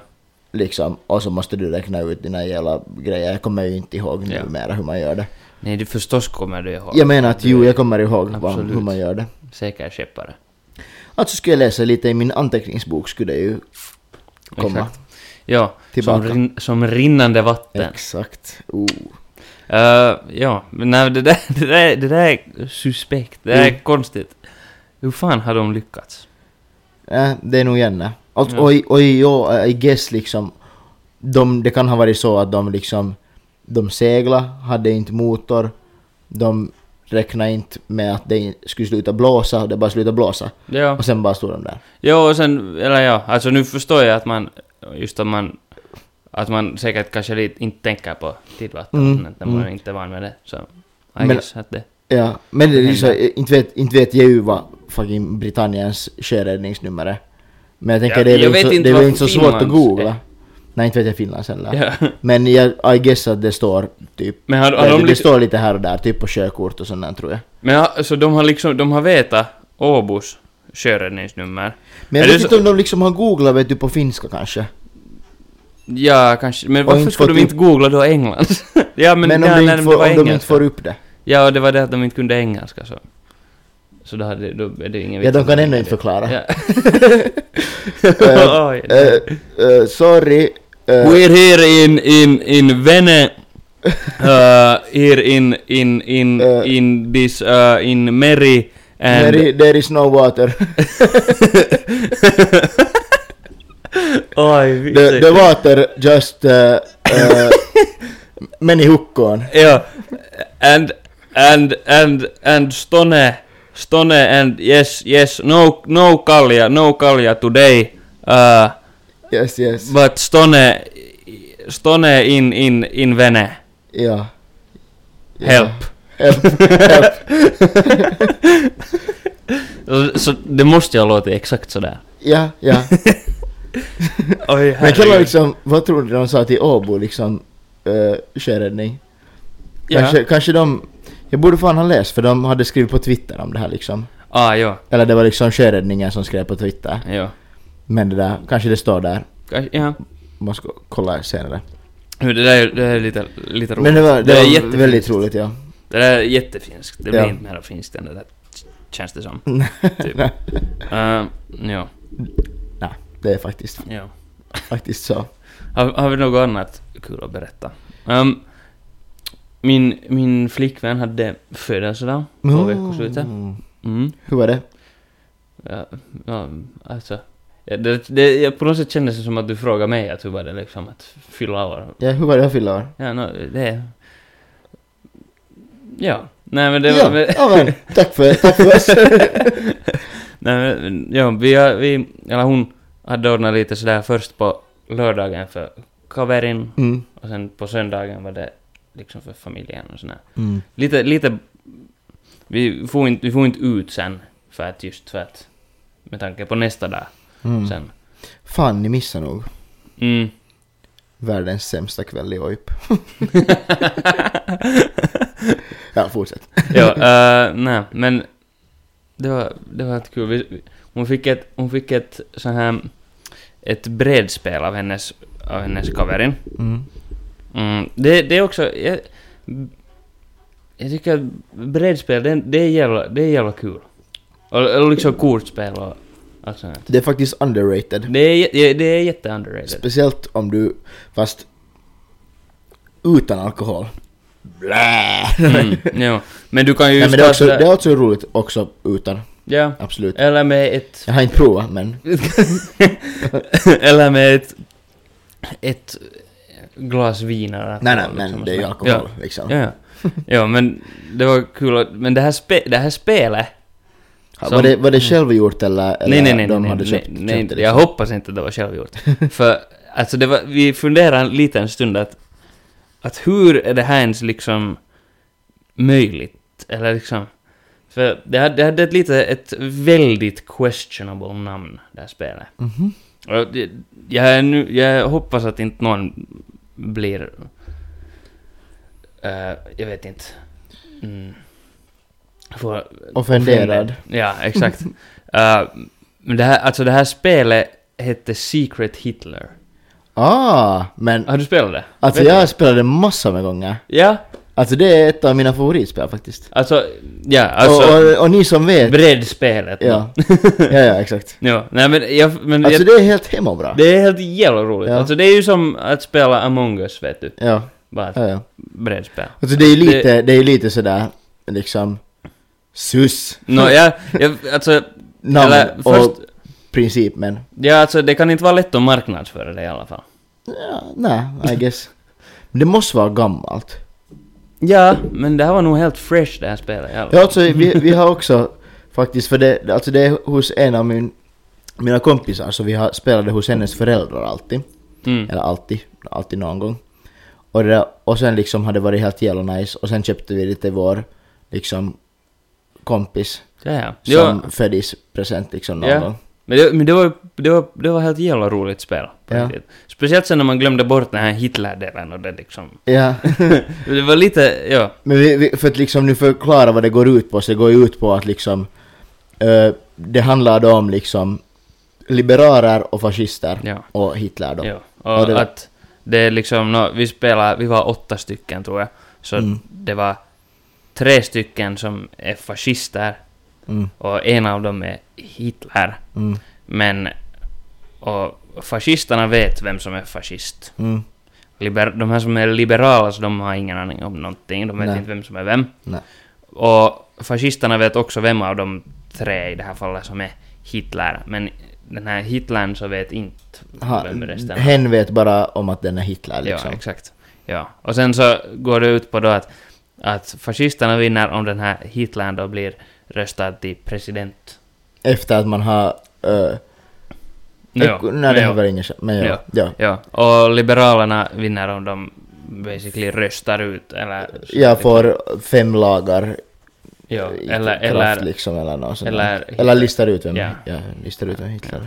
Liksom, och så måste du räkna ut dina jävla grejer. Jag kommer ju inte ihåg Ja. numera hur man gör det. Nej, du förstås kommer du ihåg. Jag menar att jo, jag kommer ihåg vad, Absolut. hur man gör det. Säker skeppare. Alltså skulle jag läsa lite i min anteckningsbok skulle det ju komma. Exakt. Ja, som, Tillbaka. rin- som rinnande vatten. Exakt. Oh. Eh, ja, men nej, det, där, det, där, det där är suspekt. Det där är konstigt. Hur fan har de lyckats? Äh, det är nog Janne. Alltså, Ja. oj, oj, ja, I guess liksom. De, det kan ha varit så att de liksom, de segla, hade inte motor, de räknade inte med att det skulle sluta blåsa, det bara slutade blåsa. Ja. Och sen bara stod de där. Ja, och sen, eller ja, alltså nu förstår jag att man, just att man, att man säkert kanske lite inte tänker på tidvatten, Mm, att man mm. inte är van med det. Så, I Men- guess att det. Ja, men det är liksom, inte, vet, inte vet jag ju vad fucking Britanniens sjöräddningsnummer är. Men jag tänker Ja, det är jag väl vet så- inte det är vad väl inte så svårt att Finlands googla. är. Nej, inte vet jag Finlands heller. Ja. Men jag I guess att det står typ... Men har, har det, de det lyck- står lite här och där, typ på körkort och sånt där tror jag. men har, så de har liksom, de har vetat Åbos sjöräddningsnummer? Men Är jag det vet så- inte om de liksom har googlat vet du på finska kanske. Ja, kanske, men Och varför inte ska fått de inte upp- googla då England? ja, men, Men, ja, om, nej, de inte men får, det var om de inte engelska. får upp det. Ja, och det var det att de inte kunde engelska så. Så då, hade, då är det ingen Ja, de att kan de ändå är inte det. förklara. Ja. Eh, Oj, eh, eh, sorry. eh, We're here in in in Vene. Uh, here in in in Uh, in this uh, in Meri and there, i- there is no water. Oj, vitsi. the, the water just... Uh, uh, meni hukkoon. Ja. And and and and Stone Stone and yes yes no no kalja no kalja today. Uh, Yes, yes. but Stone Stone in in in Vene. Ja. Ja. Help. Help. Help. Så, så det måste jag låta exakt sådär. Ja, ja. Oj, Men kolla liksom, vad tror du de sa till Åbo liksom? Uh, sjöräddning? Kanske, kanske de... Jag borde fan ha läst för de hade skrivit på Twitter om det här liksom. Ah, ja. Eller det var liksom sjöräddningen som skrev på Twitter. Ja. Men det där, kanske det står där. Kanske- ja. Måste gå- kolla senare. Nu, Det där, är- det där är lite, lite roligt. Men det var, det var jättefinskt. väldigt roligt ja. Det där är jättefinskt. Det blir Ja. inte mer finskt än det där. k- Känns det som. Typ. Nej, Ehm, ja. det är faktiskt, ja. faktiskt så. Har, har vi något annat kul att berätta? Ehm, min, min flickvän hade födelsedag på veckoslutet. Mm. Mm. Hur var det? Ja, ja, alltså. Ja, det, det, jag på något sätt kändes det som att du frågade mig att hur var det liksom att fylla år. Ja, hur var det att fylla år? Ja, nå det... Ja. Nej men det ja, var... väl- ja, men, tack för, tack för oss. Nej men, ja, vi, har- vi, eller hon hade ordnat lite sådär först på lördagen för coverin Mm. och sen på söndagen var det liksom för familjen och sådär. Mm. Lite, lite, vi får inte, vi får inte ut sen för att just för att, med tanke på nästa dag Mm. sen. Fan, ni missar nog Mm. världens sämsta kväll i OIP. ja, fortsätt. ja, eh, nej, men det var, det var ett kul. Vi- vi- Hon fick ett, hon fick ett så här, ett brädspel av hennes, av hennes coverin. Mm. Mm, det, det är också... Jag, jag tycker att brädspel, det, det, är jävla, det är jävla kul. Och, och liksom kortspel och allt sånt. här. Det är faktiskt underrated. Det är, jä- det är jätte-underrated. Speciellt om du, fast utan alkohol. Blä! Mm, ja. Men du kan ju Nej, men det, är också, starta- det är också roligt också utan, Ja. absolut. Eller med ett... Jag har inte provat men eller med ett... Ett glas vin eller Nej nej alkohol, liksom, men det är ju och sånt. alkohol liksom. Ja, ja. ja, men det var kul att, Men det här, spe, det här spelet... Ha, som- Mm. Var, det, var det självgjort eller, eller Nej, nej, nej. de nej, hade nej, köpt, liksom? nej, köpt det Jag hoppas inte att det var självgjort. För Alltså det var, vi funderade en liten stund att, att hur är det här ens liksom möjligt? Eller liksom... För det hade, det hade ett lite, ett väldigt questionable namn, det här spelet. Mhm. Och det- Jag, är nu, jag hoppas att inte någon blir... eh, jag vet inte. Mm. Får- liksom? Offenderad. Ja, exakt. Eh, men det här, alltså det här spelet hette Secret Hitler. Ah, men Har du spelat det? alltså Vet du jag spelade massor med gånger. det? Ja, Alltså det är ett av mina favoritspel faktiskt. alltså... Ja, alltså... och, och, och ni som vet... Breddspelet. Ja. ja, ja, exakt. ja. Nej men jag... Men Alltså jag, det är helt hemobra. det är helt jävla roligt. Ja. Alltså det är ju som att spela Among Us, vet du. Ja, Bara ett ja, ja. brädspel. Alltså det är ju Det- lite, det är ju lite sådär liksom... Sus. Nå, jag, jag, alltså, Namn eller och först, princip men... ja, alltså, det kan inte vara lätt att marknadsföra det i alla fall. Ja, nej, I guess. Men det måste vara gammalt. Ja, men det här var nog helt fresh det här spelet i alla fall. Ja, alltså, vi, vi har också faktiskt, för det, alltså det är hos en av min, mina kompisar, så vi har spelade hos hennes föräldrar alltid. Mm. Eller alltid, alltid någon gång. Och, det, där- och sen liksom hade det varit helt jävla nice, och sen köpte vi det till vår liksom, kompis Ja, ja. Det var, som födelsedagspresent liksom någon Ja. gång. men det, men det, var, det, var, det var helt jävla roligt spel. på Ja. riktigt. Speciellt sen när man glömde bort den här Hitler-delen och det liksom... Ja, det var lite, ja. men vi, vi, för att liksom nu förklara vad det går ut på, så det går ju ut på att liksom eh, det handlar då om liksom liberaler och fascister Ja. och Hitler då. Ja, Ja, och det var- att det är liksom, nå vi spelade, vi var åtta stycken tror jag, så Mm. det var tre stycken som är fascister Mm, och en av dem är Hitler. mm, Men, och fascisterna vet vem som är fascist. mm. Liber, de här som är liberala, så de har ingen aning om någonting, de vet Nej. inte vem som är vem. Nej. Och fascisterna vet också vem av de tre i det här fallet som är Hitler, men den här Hitlern så vet inte Ha, vem resten är. hen vet bara om att den är Hitler liksom. Ja, exakt. Ja. Och sen så går det ut på då att, att fascisterna vinner om den här Hitler då blir röstad till president. Efter att man har... Uh, Nå, ja. nej, det Nå, har väl ingen chans. Men ja. Ja. ja. ja. ja. Och liberalerna vinner om de basically röstar ut eller... Jag får fem lagar ja, i eller, kraft eller, liksom eller något sånt. eller där. Hitler. eller listar ut vem, Ja. ja. listar ut vem Hitler är.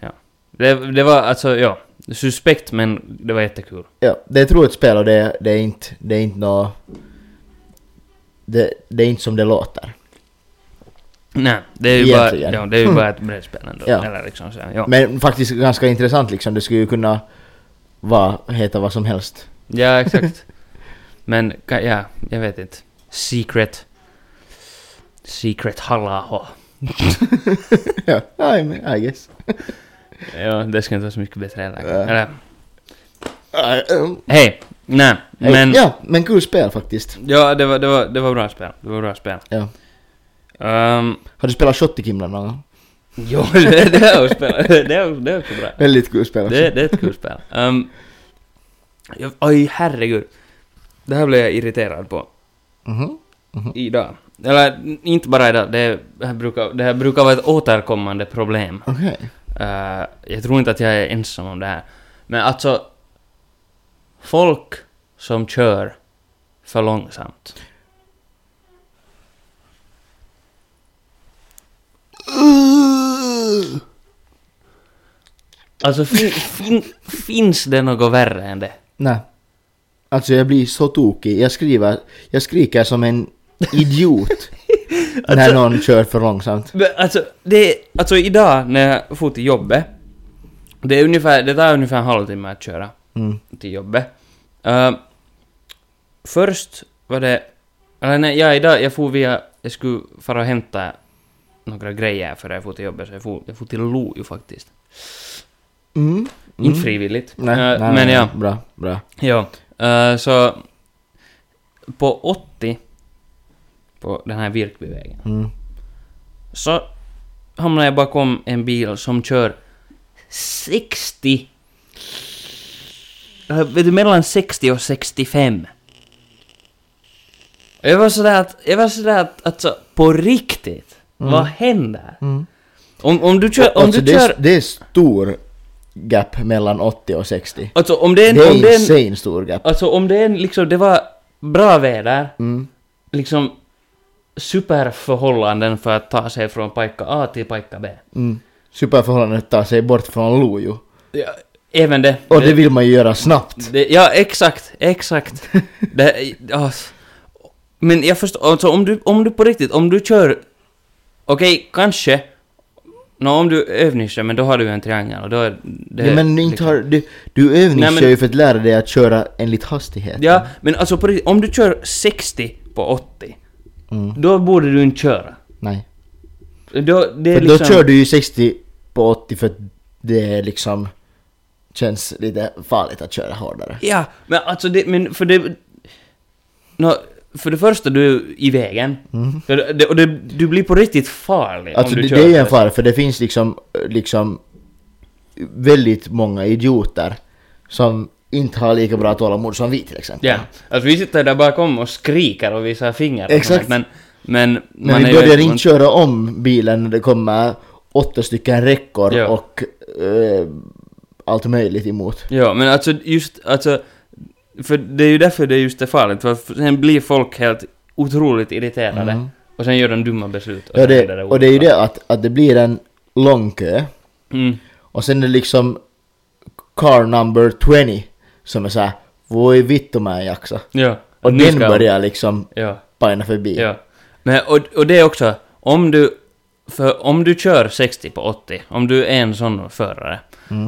Ja. det, det var alltså, ja, suspekt men det var jättekul. ja, det är ett roligt spel och det, det är inte, det är inte nå... Det, det är inte som det låter. Nej, det är ju bara, Egentligen. Mm. ja, det är ju bara ett brädspel ändå. Ja. Eller liksom så, här, ja. Men faktiskt ganska intressant liksom. Det skulle ju kunna vara, heta vad som helst. Ja, exakt. Men, ka- ja, jag vet inte. Secret... Secret halaho. ja, I, mean, I guess. Ja, det ska inte vara så mycket bättre heller. Ja. Eller, I, um, hej! Nej, Hej. men... Ja, Ja, men kul spel faktiskt. det, var, det, var, det var bra spel. Det var bra spel. Ja. Um, Har du spelat Shot i Kimland någon gång? jo, det, det har jag spelat. Det är, det är också bra. Väldigt kul spel alltså. också. Det, det är ett kul spel. Um, jag, oj, herregud. Det här blev jag irriterad på. Mhm. Idag. Eller, n- inte bara idag. Det, här brukar, det här brukar vara ett återkommande problem. Okej. Eh, jag tror inte att jag är ensam om det här. Men alltså... Folk som kör för långsamt. Alltså fin, fin, finns det något värre än det? Nej. Alltså jag blir så tokig. Jag skriver, jag skriker som en idiot. Alltså- när någon kör för långsamt. Men alltså, det är, alltså idag när jag for till jobbet. Det, är ungefär, det tar ungefär en halvtimme att köra. Mm. till jobbet. Eh, först var det... Eller nej, ja, idag, jag for via... Jag skulle fara och hämta några grejer före jag for till jobbet, så jag for, jag for till Lojo faktiskt. Mm. Mm. Inte frivilligt. Nej, Eh, nej, nej, men nej. ja. Bra, bra. ja. Eh, så... På 80, på den här Virkbyvägen, Mm. så hamnade jag bakom en bil som kör 60... Eller, Eh, Vet du, mellan 60 och 65. Jag var sådär att, jag var sådär att, alltså, på riktigt, vad händer? Mm. Om, om du kör, om alltså du det, kör, är, det är stor gap mellan 80 och 60. Alltså om det är en... det är om det är en insane stor gap. alltså om det är en, liksom, det var bra väder, Mm. liksom superförhållanden för att ta sig från paikka A till paikka B. Mm. Superförhållandet tar sig bort från Lojo. Ja, även det. Och det vill man ju göra snabbt. Det, ja, exakt, exakt. det, ja. Men jag förstår, alltså om du, om du på riktigt, om du kör... Okej, kanske... Nå, om du övningskör, men då har du ju en triangel och då är det... Nej, men du, inte liksom- har, du, du övningskör Nej, men- ju för att lära dig att köra enligt hastigheten. Ja, men alltså på riktigt, om du kör 60 på 80, Mm. då borde du inte köra. Nej. Då, det är För liksom... då kör du ju 60 på 80 för att det är liksom känns lite farligt att köra hårdare. Ja, men alltså det, men för det... Nå, för det första, du är i vägen. För Det, och det, du blir på riktigt farlig Mm. Alltså om du det, det kör. är ju en för- fara för det finns liksom, liksom väldigt många idioter som inte har lika bra tålamod som vi till exempel. Ja, alltså vi sitter där bakom och skriker och visar fingrar och Exakt. sånt, Men, men, Men man är vi ju- börjar inte man- köra om bilen när det kommer åtta stycken räckor Ja. och eh, allt möjligt emot. Ja, men alltså just, alltså... För det är ju därför det är just det farligt, för sen blir folk helt otroligt irriterade. Och sen gör de dumma beslut. Mm. Ja, sen det, händer och det är ju det att, att det blir en lång kö Mm. och sen är det liksom car number 20 som är såhär Voi vittu mä en jaksa. Ja. Och Nu den ska- börjar liksom Ja. pajna förbi. Ja. Men, och, och det är också, om du... För om du kör 60 på 80, om du är en sån förare.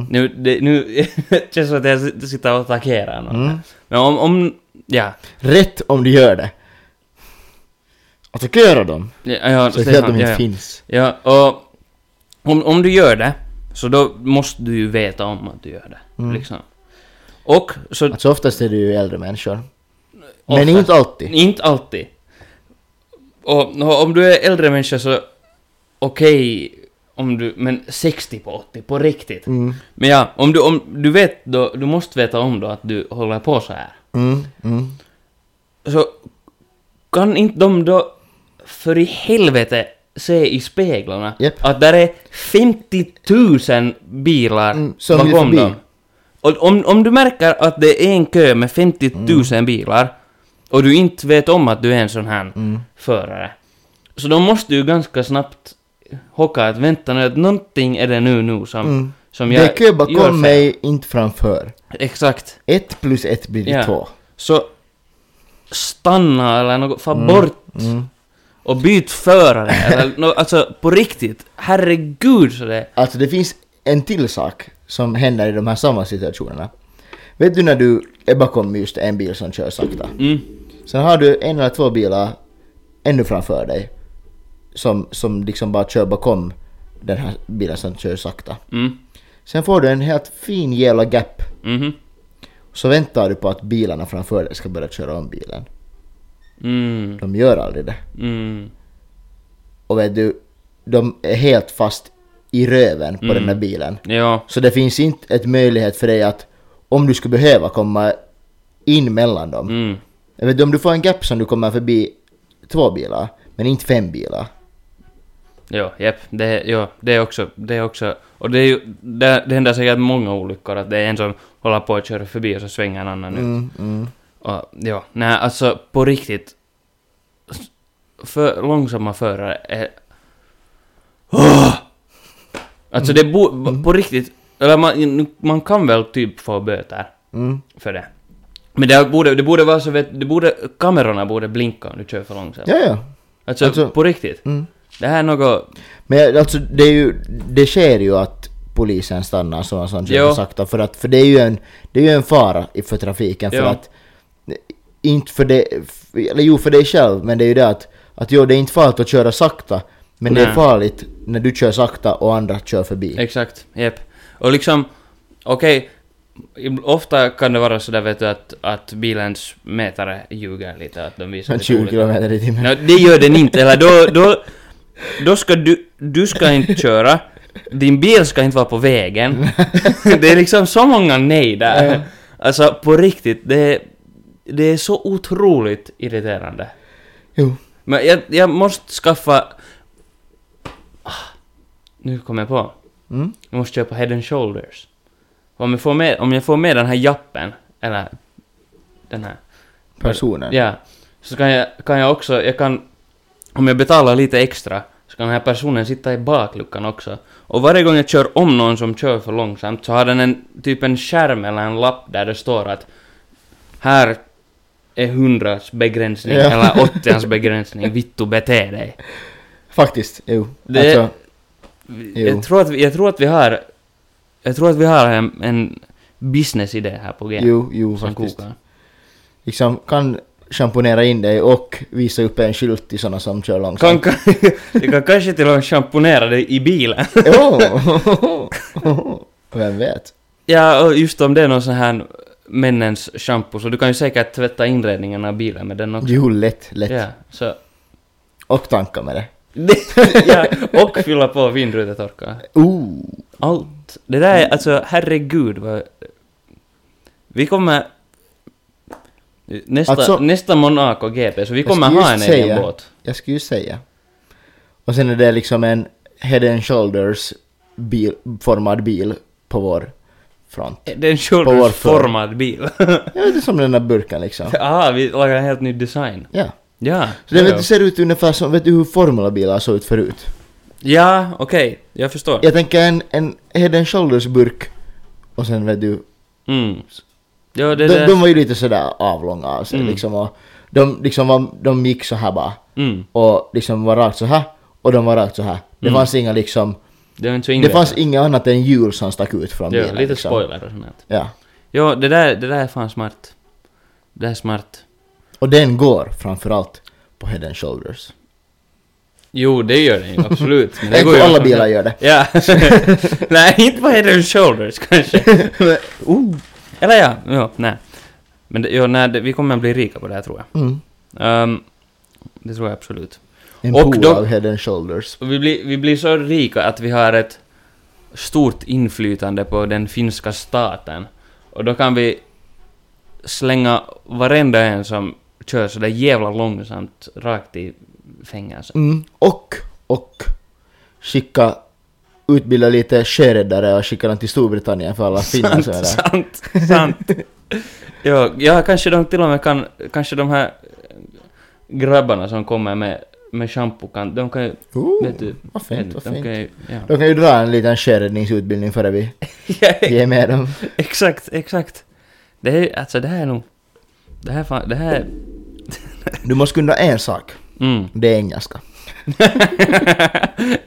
Nu, det, nu känns det som att jag sitter och attackerar någon. här. Men om, om... Ja. Rätt om du gör det. Attackera dem! ja, ja Så att Stefan, de ja, inte ja. finns. Ja, och om, om du gör det, så då måste du ju veta om att du gör det. Liksom. Och så... Alltså oftast är det ju äldre människor. Men oftast- inte alltid. Inte alltid. Och, nå, om du är äldre människa så... Okej, om du... Men 60 på 80, på riktigt. Mm. Men ja, om du, om du vet då... Du måste veta om då att du håller på så här. Mm, mm. Så kan inte de då för i helvete se i speglarna Japp. att där är 50 000 bilar Mm, som vill bakom förbi. dem. Och om, om du märker att det är en kö med 50 000 Mm. bilar och du inte vet om att du är en sån här Mm. förare. Så då måste du ganska snabbt hocka att vänta nu att någonting är det nu nu som, Mm. som Det jag är kö gör fel. bakom mig, inte framför. Exakt. Ett plus ett blir Ja. två. Så stanna eller något, far bort. Och byt förare. eller, nå alltså på riktigt, herregud så det... Alltså det finns en till sak som händer i de här samma situationerna. Vet du när du är bakom just en bil som kör sakta? Mm. Sen har du en eller två bilar ännu framför dig. Som, som liksom bara kör bakom den här bilen som kör sakta. Mm. Sen får du en helt fin jävla gap. Mhm. Så väntar du på att bilarna framför dig ska börja köra om bilen. Mm. De gör aldrig det. Mm. Och vet du, de är helt fast i röven på den här bilen. Ja. Så det finns inte ett möjlighet för dig att om du skulle behöva komma in mellan dem. Mm. Jag vet, om du får en gap som du kommer förbi två bilar, men inte fem bilar. Ja, japp. Det, ja, det är också, det är också... Och det är ju, det, det händer säkert många olyckor att det är en som håller på att köra förbi och så svänger en annan ut. Mm, mm. Och, ja, nej alltså på riktigt. s- För långsamma förare är... Åh! Alltså det bo, Mm. b- på riktigt, eller man, man kan väl typ få böter Mm. för det. Men det borde, det borde vara så vet det borde, kamerorna borde blinka om du kör för långsamt. Ja, ja. Alltså, alltså- på riktigt. Mm. Det här är något... Men jag- alltså det är ju, det sker ju att polisen stannar sådana som kör Jo. sakta för att, för det är ju en, det är ju en fara i- för trafiken för Jo. att, inte för det, eller jo för dig själv men det är ju det att, att jo det är inte farligt att köra sakta men det är Nej. farligt när du kör sakta och andra kör förbi. Exakt, jep. Och liksom, okej, ib- ofta kan det vara sådär vet du att, att bilens mätare ljuger lite, att de visar Som lite 20 olika- kilometer i timmen. Nej, det gör den inte. Eller då, då, då ska du, du ska inte köra. Din bil ska inte vara på vägen. Det är liksom så många nej där. Alltså på riktigt, det är, det är så otroligt irriterande. Jo. Men jag, jag måste skaffa... Ah, Nu kommer jag på. Mm. Jag måste köpa Head and Shoulders. Och om jag får med, om jag får med den här jappen, eller den här, personen. ja, så kan jag, kan jag också, jag kan, om jag betalar lite extra, så kan den här personen sitta i bakluckan också. Och varje gång jag kör om någon som kör för långsamt så har den en, typ en skärm eller en lapp där det står att här är hundrans begränsning Ja. eller åttians begränsning, vittu bete dig. Faktiskt, jo. Det- Alltså, Jo. Jag tror, att vi, jag tror att vi har... Jag tror att vi har en, en business-idé här på G. jo, jo som faktiskt. kokar. Liksom kan schamponera in dig och visa upp en skylt till såna som kör Kan, långsamt. kan, jag kan kanske till och med schamponera dig i bilen. Jo! Vem vet? ja, och just om det är någon sån här männens shampoo så du kan ju säkert tvätta inredningen av bilen med den också. Jo, lätt, lätt. Ja, så. Och tanka med det. ja, och fylla på vindrutetorkaren. Ooh. Allt. Det där är alltså, herregud vad... Vi kommer... Nästa, Alltså- nästa Monaco GP, så vi Jag kommer skulle ha en just egen säga- båt. Jag skulle ju säga. Och sen är det liksom en head and shoulders bil, formad bil på vår front. Det är en På vår shoulders-formad bil. Ja, det är som den där burken liksom. ah, vi lagar en helt ny design. Ja. Ja. Så det ja, vet, du, ser ut ungefär som, vet du hur formulabilar såg ut förut? Ja, okej. Jag förstår. Jag tänker en, en head and shoulders burk och sen vet du, Mm. Ja, det de, är det. de var ju lite sådär avlånga av sig Mm. liksom och de liksom var, de gick så här bara Mm. och liksom var rakt så här och de var rakt så här. Det Mm. fanns inga liksom, Det var inte så det invecklat. fanns inget annat än hjul som stack ut från Ja, bilen. lite liksom. spoiler och sånt. där. Ja. Ja, det där, det där är fan smart. Det är smart. Och den går framförallt på head and shoulders. Jo, det gör den ju absolut. Men Det går ju alla också- bilar gör det. Ja. nej, inte på head and shoulders kanske. Oh. Eller ja, ja, nej. Men det, ja, nej, det, vi kommer att bli rika på det här tror jag. Mm. Ehm, det tror jag absolut. En Och pool de- av head and shoulders. Och vi blir, vi blir så rika att vi har ett stort inflytande på den finska staten. Och då kan vi slänga varenda en som kör sådär jävla långsamt rakt i fängelse. Mm. Och, och skicka, utbilda lite sjöräddare och skicka dem till Storbritannien för alla finnar som är där. sant, sant. ja, ja, kanske de till och med kan, kanske de här grabbarna som kommer med, med shampoo kan, de kan ju, Oh, vet du, vad fint, vad de fint. kan ju, ja. De kan ju dra en liten sjöräddningsutbildning före vi ja, ger med dem. Exakt, exakt. Det är alltså det här är nog... Det här fan, det här är... Du måste kunna en sak. Mm. Det är engelska.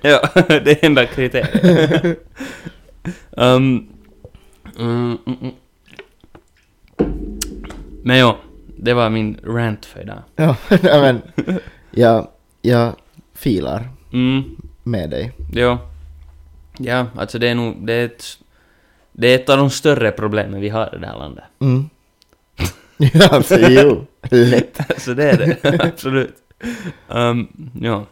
ja, det är enda kriteriet. um, mm, mm, mm. Men ja, det var min rant för idag. Ja, ja, men jag, jag filar Mm, med dig. ja. Ja, alltså det är nog... Det är ett, det är ett av de större problemen vi har i det här landet. Mm. Ja, alltså, jo. Lätt. Så det är det, absolut. Um, ja.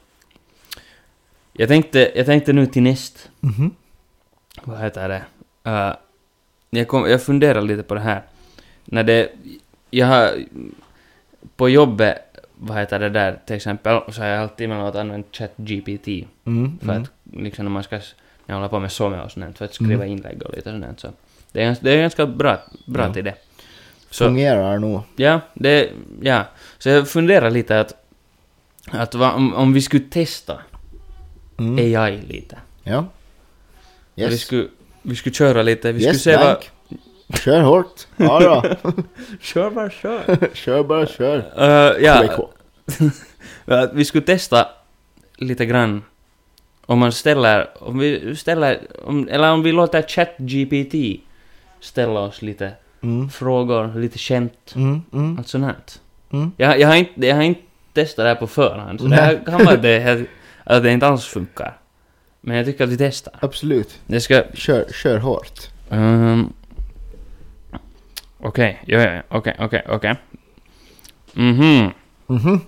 Jag tänkte, jag tänkte nu till näst, Mhm. vad heter det? Uh, jag, kom, jag funderar lite på det här. När det, jag har, på jobbet, vad heter det där till exempel, så har jag alltid emellanåt använt ChatGPT. Mm, För mm. att liksom när man ska, s- när jag håller på med SOME och sånt där, för att skriva Mm. inlägg och lite sånt där, så. Det är, gans- det är ganska bra, bra Ja. till det. Så- Fungerar nog. Ja, det, ja. Så jag funderar lite att, att va, om, om vi skulle testa Mm. AI lite. Ja. Vi, Yes. skulle, vi skulle köra lite, vi yes, skulle se vad... Dank. Kör hårt. Ja, då. Kör bara kör! kör bara, kör. Play Eh, ja, cool. att vi skulle testa lite grann om man ställer, om vi ställer, om, eller om vi låter ChatGPT ställa oss lite Mm. frågor, lite skämt, Mm, mm, allt sånt här. mm. Jag, jag, har inte, jag har inte testat det här på förhand, så det här kan vara det här, att det inte alls funkar. Men jag tycker att vi testar. Absolut. Det ska... Kör, kör hårt. Um, okej, ja, ja, ja, okej, okej, okej. Mhm. Mhm.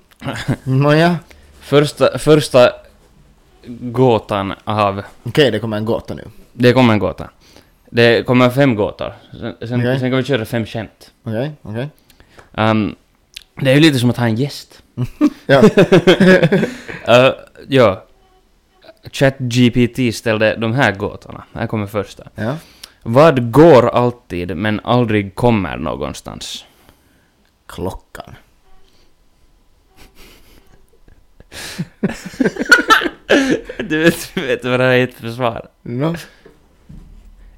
Nåja. Första, första gåtan av... Okej, det kommer en gåta nu. Det kommer en gåta. Det kommer fem gåtor. Sen, sen, Okej. sen kan vi köra fem skämt. Okej, okej. Ehm, det är ju lite som att ha en gäst. Ja. Eh, ja. ChatGPT ställde de här gåtorna. Här kommer första. Ja. Vad går alltid men aldrig kommer någonstans? Klockan. Du vet, du vet vad det här är ett försvar. No.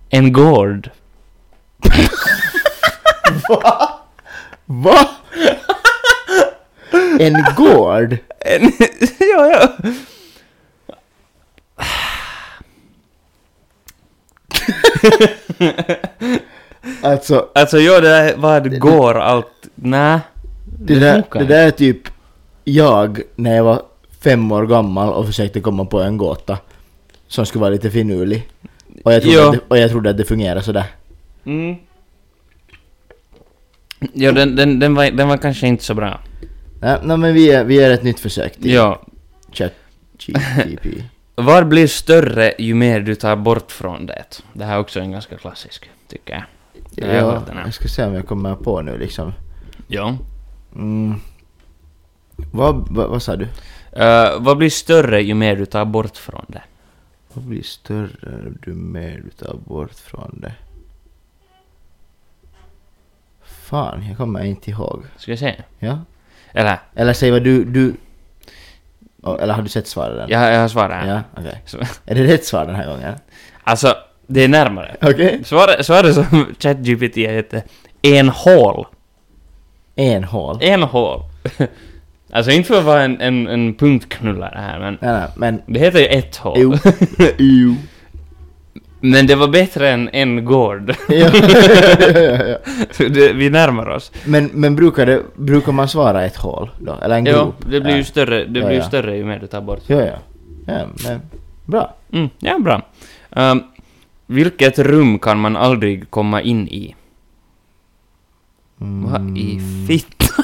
En gård. Va? En gård? En, ja, ja. Alltså, Alltså, ja, det där vad går allt... Nä. det där, funkar det där är typ jag när jag var fem år gammal och försökte komma på en gåta som skulle vara lite finurlig. Och jag trodde, Ja. att det, och jag trodde att det fungerade sådär. Mm. Ja, den, den, den, var, den var kanske inte så bra. Nej, nej men vi gör, vi gör ett nytt försök till Ja. ChatGPT. Vad blir större ju mer du tar bort från det? Det här är också en ganska klassisk, tycker jag. Jag har Ja, hört den här. jag ska se om jag kommer på nu liksom. Ja. Mm. Vad, vad, vad sa du? Eh, vad blir större ju mer du tar bort från det? Vad blir större du mer du tar bort från det? Fan, jag kommer inte ihåg. Ska jag säga? Ja? Eller, Eller säg vad du... du... Oh, eller har du sett svaret? än? jag, jag har svarat här. Ja, okej. Så- Är det rätt svar den här gången? Alltså, det är närmare. Okej. Svaret, svaret som ChatGPT heter en hål. En hål. En hål. alltså inte för att vara en, en, en punktknullare här, men Nej, nej, men... det heter ju ett hål. Jo. Jo. Men det var bättre än en gård. Ja, ja, ja. Så det, vi närmar oss. men, men brukar, det, brukar man svara ett hål då? Eller en Jo, grop? det blir ju större, det Ja, blir ju ja. större ju mer du tar bort. Ja, ja. ja men, bra. Mm, ja, bra. Ehm, vilket rum kan man aldrig komma in i? Mm. Vad i fitt?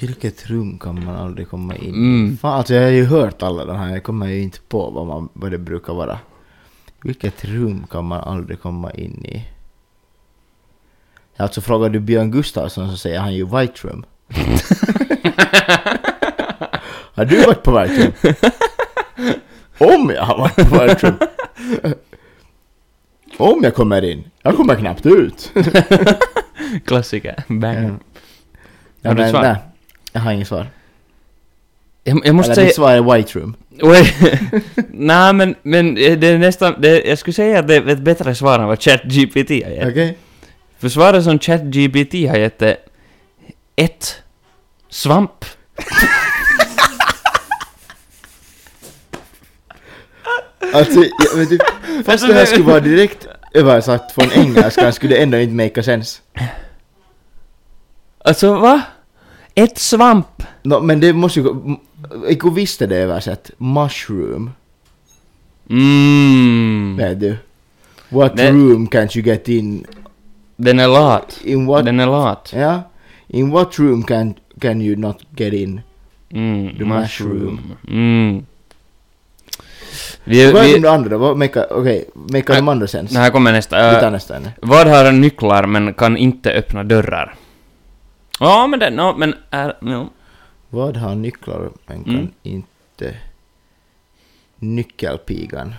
Vilket rum kan man aldrig komma in i? Mm. Fan, alltså jag har ju hört alla de här, jag kommer ju inte på vad, man, vad det brukar vara. Vilket rum kan man aldrig komma in i? Alltså frågar du Björn Gustafsson så säger han ju White Room. har du varit på White Room? Om jag har varit på White Room! Om jag kommer in, jag kommer knappt ut. Klassiker. Bang. Ja, Har du men, svar? nej, jag har inget svar. Jag, jag måste Eller mitt säga... svar är White Room. Oj. Nej, men, men eh, det är nästan... Det, jag skulle säga att det är ett bättre svar än vad ChatGPT har gett. Okej? För svaret som ChatGPT har gett är... Ett. Svamp. Alltså, jag, men typ, fast Alltså, det här men- skulle vara direkt översatt från engelskan skulle det ändå inte make a sense. Alltså, va? Ett svamp. No, men det måste ju gå... m- Iko visste det översatt. Mushroom, Mm. vet du. What Nej. room can't you get in? Den är lat. In what... Den är lat. Ja? In what room can, can you not get in? Mm, The mushroom. Mm. Vi, Vad är vi, de andra? Vad make a... Okej, make a de andra sense? det här kommer nästa. Vi Eh, tar nästa ämne. vad har nycklar men kan inte öppna dörrar? Ja, men det... No, men... är no. Vad har nycklar men kan Mm. inte... Nyckelpigan.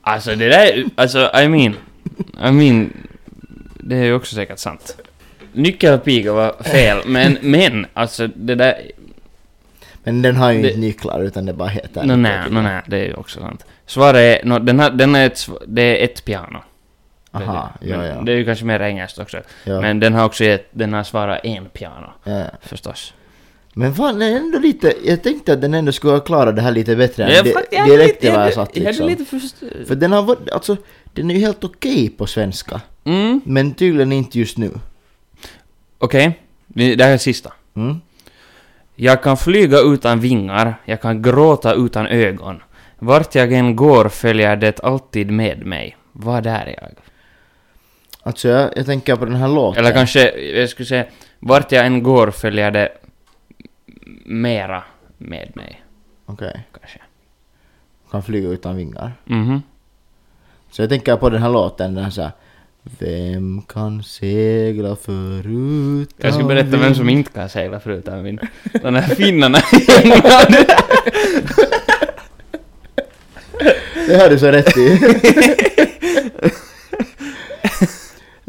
Alltså, det där... är- Alltså, I mean... I mean... Det är ju också säkert sant. Nyckelpiga var fel, men, men alltså det där... Men den har ju Det- inte nycklar utan det bara heter... Nå, nej, nyckelpigan. nå, nej, det är ju också sant. Svaret är... nå, den här, den är ett, sv- det är ett piano. Aha, Men ja, ja. Det är ju kanske mer engelskt också. ja. Men den har också gett, den har svarat en piano, Ja. förstås. Men fan, den är ändå lite... Jag tänkte att den ändå skulle ha klarat det här lite bättre än Jag di- fakt- jag hade direkt lite- jag hade- översatt Jag liksom. hade lite först... För den har varit... Alltså, den är ju helt okej på svenska. Mm, Men tydligen inte just nu. okej. Det- Det här är sista. Mm? Jag kan flyga utan vingar, jag kan gråta utan ögon. Vart jag än går följer det alltid med mig. Vad är jag? Alltså, jag, jag tänker på den här låten. Eller kanske, jag skulle säga, vart jag än går följer det mera med mig, Okej. kanske. Kan flyga utan vingar. Mhm. Så jag tänker på den här låten, den här såhär... Vem kan segla förut? Jag ska berätta vem som inte kan segla förutom min... De här finnarna i England. Det har du så rätt i.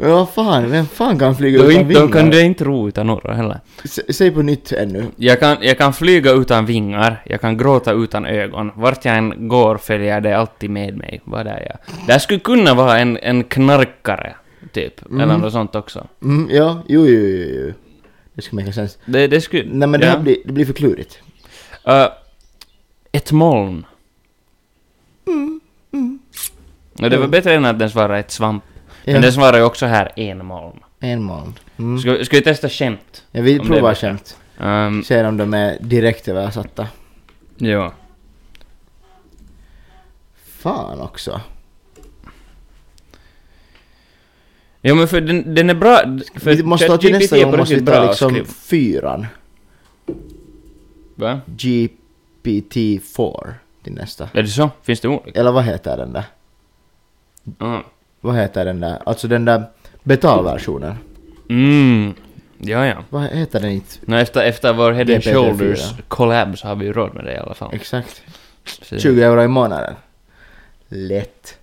Men vad fan, vem fan kan flyga Då, utan inte, då vingar? kan du inte ro utan några heller. S- Säg på nytt ännu. Jag kan, jag kan flyga utan vingar, jag kan gråta utan ögon. Vart jag än går följer det alltid med mig. Vad är jag? Det här skulle kunna vara en, en knarkare, typ. Eller något sånt också. Mm, ja, jo, jo, jo, jo. Det skulle make sense. Det, det skulle... Nej men det ja. här blir, det blir för klurigt. Ö, ett moln. No, det var bättre än att den svarade ett svamp. Ja. Men den svarade ju också här en moln. En moln. Mm. Ska, ska vi testa skämt? Jag vill Om det är prova bättre. skämt. Um, Se om de är direkt översatta. ja. Fan också. Ja men för den, den är bra. För Vi måste ta till ChatGPT nästa är på gång måste vi riktigt ta bra att liksom skriva. fyran. Va? GPT-4 till nästa. Är det så? Finns det olika? Eller vad heter den där? Ja. Vad heter den där? Alltså den där betalversionen. Mm. Ja, ja. Vad heter den inte? Nå efter, efter vår Head and GPT-4. Shoulders collab så har vi ju råd med det i alla fall. Exakt. Så- 20 euro i månaden. Lätt.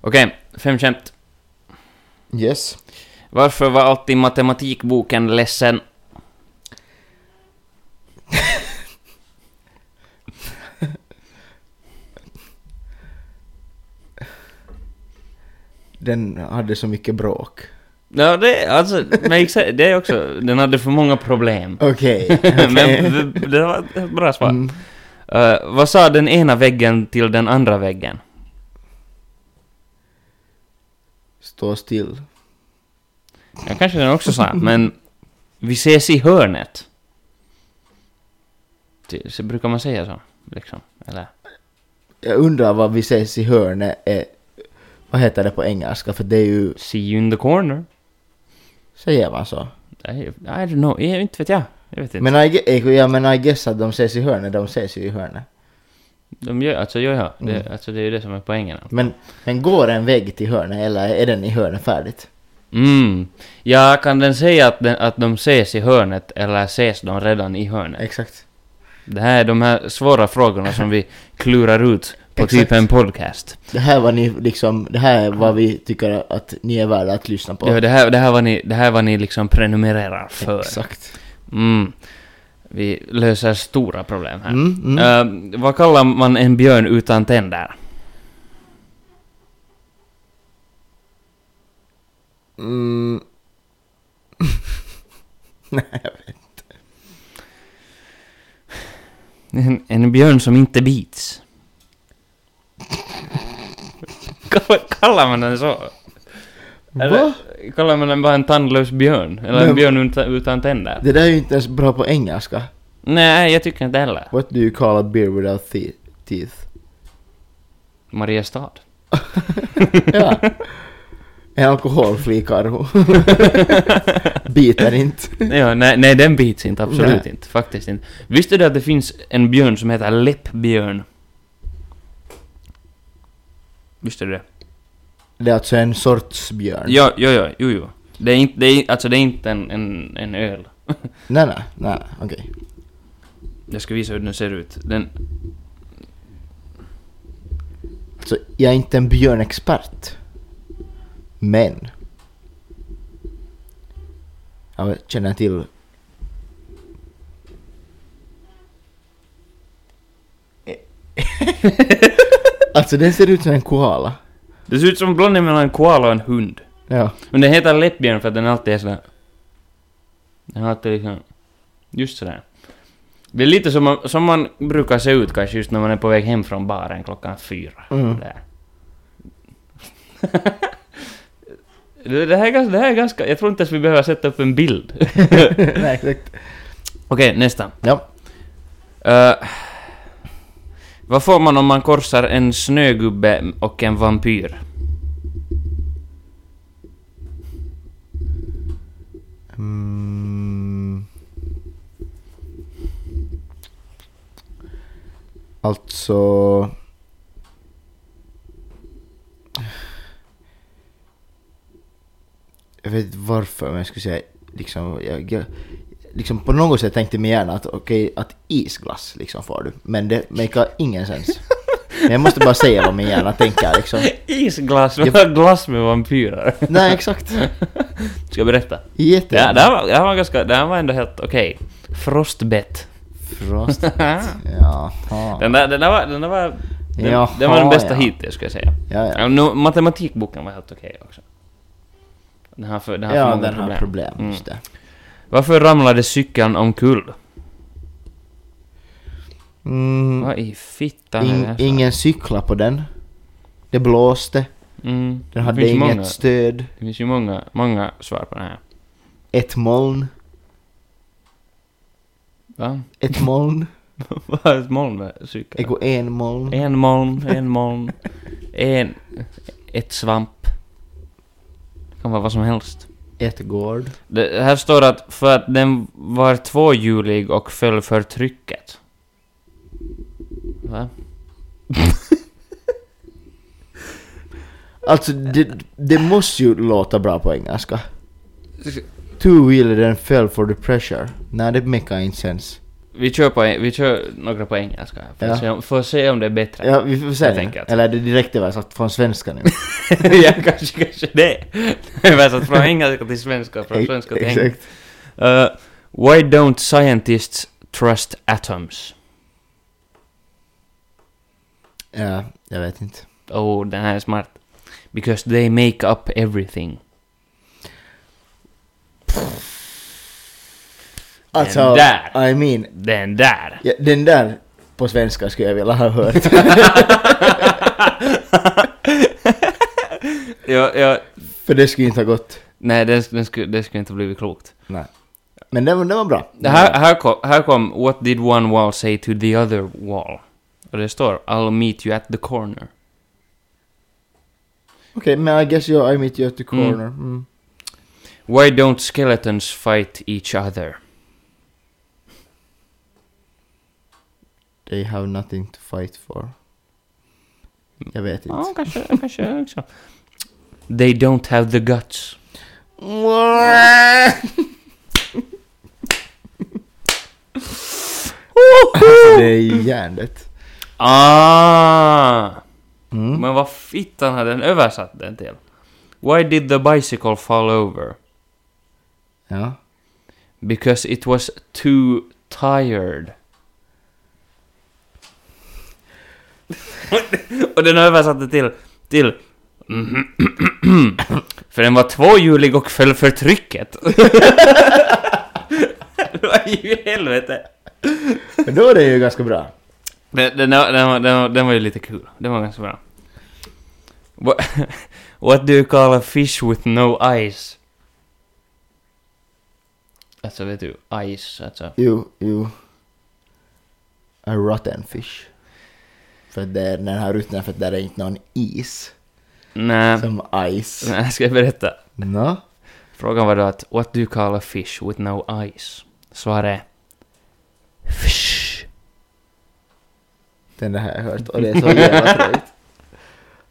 Okej, fem skämt. Yes. Varför var alltid matematikboken ledsen? Den hade så mycket bråk. Ja, det, alltså, men exa- det är också, den hade för många problem. Okej. men det, det var ett bra svar. Mm. Eh, vad sa den ena väggen till den andra väggen? Stå still. Ja, kanske den också sa, men vi ses i hörnet. Det, så brukar man säga så, liksom? Eller? Jag undrar vad vi ses i hörnet är. Vad heter det på engelska? För det är ju... See you in the corner? Säger man så? I, I don't know, jag, inte vet jag. Jag vet inte. Men I, ge- eh, ja, men I guess att de ses i hörnet, de ses ju i hörnet. De gör, alltså gör jag. Det, Mm. alltså, det är ju det som är poängen. Men, men går en vägg till hörnet eller är den i hörnet färdigt? Mm. Ja, kan den säga att, den, att de ses i hörnet eller ses de redan i hörnet? Exakt. Det här är de här svåra frågorna som vi klurar ut på typ Exakt. en podcast. Det här var ni liksom, det här är vad vi tycker att ni är värda att lyssna på. Ja, det, här, det, här var ni, det här var ni liksom prenumererar för. Exakt. Mm. Vi löser stora problem här. Mm, mm. Eh, vad kallar man en björn utan tänder? Mm. En, en björn som inte bits. Kall- kallar man den så? Eller, Va? kallar man den bara en tandlös björn? Eller en Men- björn utan, utan tänder? Det där är ju inte ens bra på engelska. Nej, jag tycker inte heller. What do you call a beer without thi- teeth? Mariestad. Ja. En alkoholfri karvo. Biter inte. ja, nej, nej, den bits inte. Absolut Nej. inte. Faktiskt inte. Visste du att det finns en björn som heter läppbjörn? Visste du det? Det är alltså en sorts björn. Ja, ja, ja, jo, jo. Det är inte, det är, alltså det är inte en, en, en öl. Nej, nej, nej, okej. Jag ska visa hur den ser ut. Den, Så jag är inte en björnexpert. Men. Jag känner till... alltså den ser ut som en koala. det ser ut som en blandning mellan en koala och en hund. Ja. Men den heter läppbjörn för att den alltid är sådär... Den har alltid liksom... Just sådär. Det är lite som man, som man brukar se ut kanske just när man är på väg hem från baren klockan fyra. Mm. Där. det, det, här är ganska, det här är ganska... Jag tror inte ens vi behöver sätta upp en bild. Okej, nej, exakt. nästa. Ja. Eh, vad får man om man korsar en snögubbe och en vampyr? Mm. Alltså... Jag vet inte varför, men jag skulle säga liksom... Jag, jag, liksom på något sätt tänkte min hjärna att okej, att isglass liksom får du. Men det makar ingen sens. Men jag måste bara säga vad min hjärna tänker liksom. Isglass, vi har glass med vampyrer. Nej, exakt. Ska jag berätta? Ja, det Jättegärna. här var, det här var ganska, det här var ändå helt okej. Frostbett. Frost. Jaha. Den där, den där var, den där var, den, Jaha, den var den bästa ja. hittills ska jag säga. Ja, ja. Ja, nu, matematikboken var helt okej också. Den har för, den har för Ja, många den har problem. Mm. Just det. Varför ramlade cykeln omkull? Mm, Vad i fittan är det in, här för- ingen cykla på den. Det blåste. Mm. Den det hade finns inget många, stöd. Det finns ju många, många svar på den här. Ett moln. Va? Ett moln. Vad är ett moln med cykeln? Ego en moln. En moln, en moln, en... Ett svamp. Det kan vara vad som helst. Ett gård. Det, här står att för att den var tvåhjulig och föll för trycket. Va? Alltså det, det måste ju låta bra på engelska. Two wheeler and fell for the pressure. Nej, det make inte sens. Vi kör, på, vi kör några på engelska här för, Ja. att se, om- för att se om det är bättre. Ja, vi får Jag se. tänker att- Eller är det direkt översatt från svenska nu? ja, kanske, kanske det. Översatt från engelska till svenska, från svenska till engelska. Exakt. Uh, why don't scientists trust atoms? Ja, jag vet inte. Oh, den här är smart. Because they make up everything. Alltså, där. I mean, Den där! ja, den där på svenska skulle jag vilja ha hört. Ja, ja, För det skulle inte ha gått. nej, den, den, skulle, den skulle inte blivit klokt. Nej. Men den, var- den var bra. Mm. Det här, här, kom, här kom What did one wall say to the other wall? Och det står I'll meet you at the corner. Okej, men I guess you, I meet you at the Mm. corner. Mm. Why don't skeletons fight each other? They have nothing to fight for. Mm. Jag vet inte. Ja, kanske, kanske också. They don't have the guts. Alltså, det är ju hjärndött. Ah! Mm. Men vad fittan hade den översatt den till? Why did the bicycle fall over? Ja. Because it was too tired. Och den översatte till... till för den var tvåhjulig och föll för trycket. Vad i helvete? Men då är det ju ganska bra. Den, den, den, den, den, den var ju lite kul. Den var ganska bra. What, what do you call a fish with no eyes? Alltså vet du, eyes alltså. Jo, jo. A rotten fish. För det är den här ruttnar för att där är inte någon is. Nej, Som ice. nej, ska jag berätta? Nå? Frågan var då att what do you call a fish with no eyes? Svaret är fish. Den där har jag hört och det är så jävla tråkigt.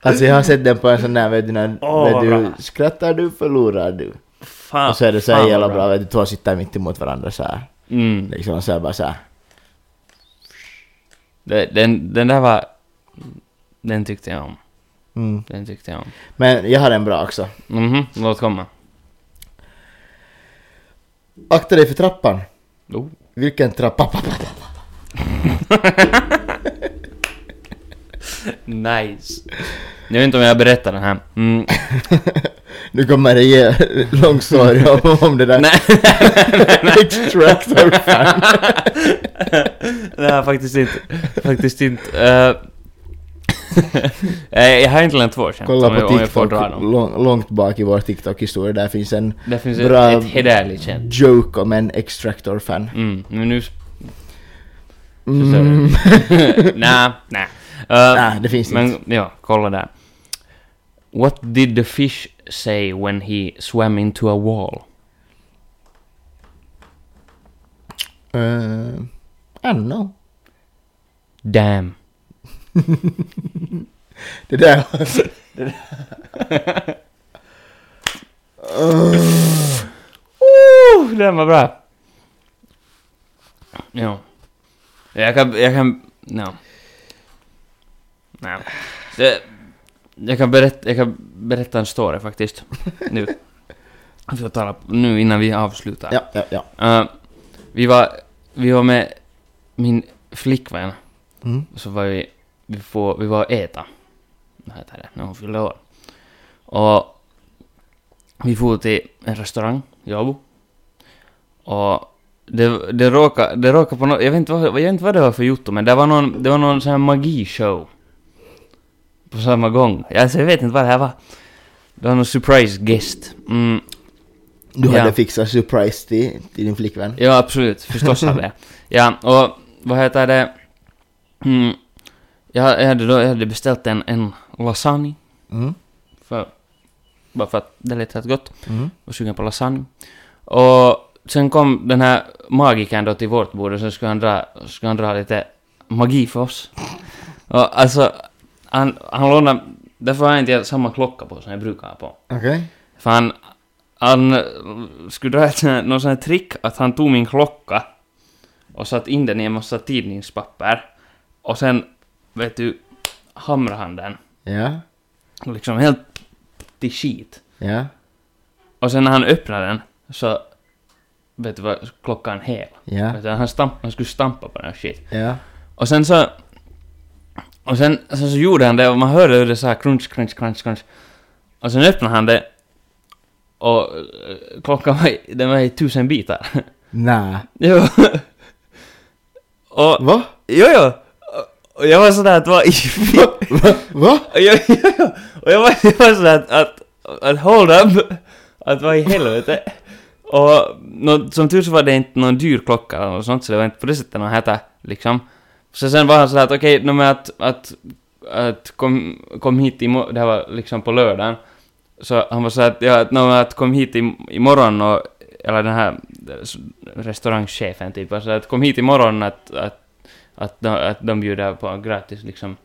Alltså jag har sett den på en sån där, vet du, när, Åh, vet vad du bra. skrattar du förlorar du. Fan, Och så är det så här fan vad jävla bra, vet du, två sitter mitt emot varandra så här. Mm. Liksom och så här bara så här. Det- Den, den där var... Den tyckte jag om. Mm. Den tyckte jag om. Men jag har en bra också. Mhm, låt komma. Akta dig för trappan. Oh. Vilken trappa? Nice. Jag vet inte om jag berättar den här. Mm. Nu kommer det ge lång story om, om det där. Nej. Extractor fan. Nej, faktiskt inte. Faktiskt inte. Eh, eh, jag har egentligen två känns Kolla om, jag- på om jag får TikTok, dra dem. lång, långt bak i vår TikTok-historia, där finns en Det finns bra ett, ett hederligt känt. joke om en Extractor-fan. Mm, men nu... Mm. Nej, nej. Nej, det finns inte. Uh, Men ja, kolla där. What did the fish say when he swam into a wall? Uh, I don't know. Damn. Det där... det där- Oh, den var bra. Ja. Jag kan... Jag kan... Ja. Nej. Det, jag, kan berätta, jag kan berätta en story faktiskt. Nu. Vi får tala, nu innan vi avslutar. Ja, ja, ja. Eh, vi, var, vi var med min flickvän. Mm. Och så var vi, vi, får, vi var och äta. Vad heter det? När hon fyllde år. Och vi for till en restaurang, Jabo. Och det, det råkade, det råkade på något, jag vet inte vad, jag vet inte vad det var för jotto, men det var någon, det var någon sån här magishow. På samma gång. Alltså jag vet inte vad det här var. Det var någon surprise guest. Mm. Du Ja. hade fixat surprise till, till din flickvän. Ja, absolut. Förstås hade jag. Ja, och vad heter det? Mm, jag, jag, hade då, jag hade beställt en, en lasagne. Mm. För, bara för att det lät rätt gott. Mm. Och sugen på lasagne. Och sen kom den här magikern då till vårt bord och sen skulle han dra, skulle han dra lite magi för oss. Och alltså, han, han lånade... Därför har jag inte samma klocka på som jag brukar ha på. Okej. För han, han eh, skulle dra ett, sånt här- någon sån här trick att han tog min klocka och satt in den i en massa tidningspapper. Och sen, vet du, hamrade han den. Ja, Liksom helt till skit. ja. Och sen när han öppnade den så, vet du vad, klockan hel. Ja, Vet du, Han, stamp, han skulle stampa på den här skit. ja. Och sen så... Och sen, sen så gjorde han det och man hörde hur det så här crunch, crunch, crunch, crunch. Och sen öppnade han det och eh, klockan var i, den var i tusen bitar. Nä. jo. och... Va? Jo, jo. Och- Och jag var sådär att vad i... Va? Och jag, jag, jag, och jag var, jag var sådär att, att, att hold up, att vad i helvete. Och nå som tur så var det inte någon dyr klocka eller något sånt, så det var inte på det sättet någon heta liksom. Så sen var han sådär att okej, nå men att, att, att kom, kom hit imorgon, det här var liksom på lördagen. Så han var sådär att, ja, att, nå men att kom hit im- imorgon och, eller den här eh, restaurangchefen typ, var sådär att kom hit imorgon att, att, att, de, att de bjuder på gratis liksom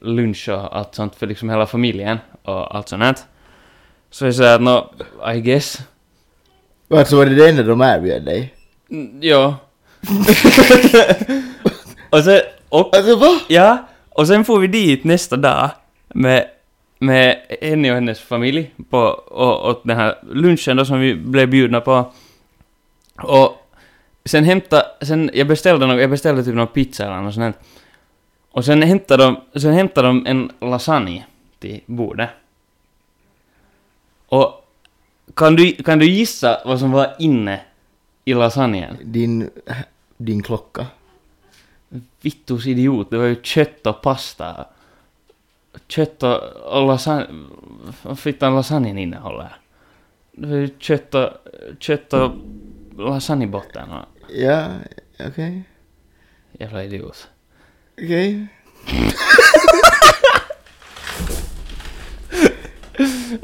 lunch och allt sånt för liksom hela familjen och allt sånt här. Så jag säger att nå, I guess. Alltså var det det enda de erbjöd dig? Mm, ja. och sen, och, Alltså va? ja, och sen får vi dit nästa dag med, med henne och hennes familj på, och, och den här lunchen då som vi blev bjudna på. Och sen hämta, sen jag beställde något, jag beställde typ någon pizza eller något sånt här. Och sen hämtade de, sen hämtade de en lasagne till bordet. Och kan du, kan du gissa vad som var inne i lasagnen? Din, din klocka. Vittus idiot, det var ju kött och pasta. Kött och, och lasagne... Vad fittan lasagnen innehåller? Det var ju kött och, kött och lasagnebotten och Ja, okej. jävla idiot. Okej.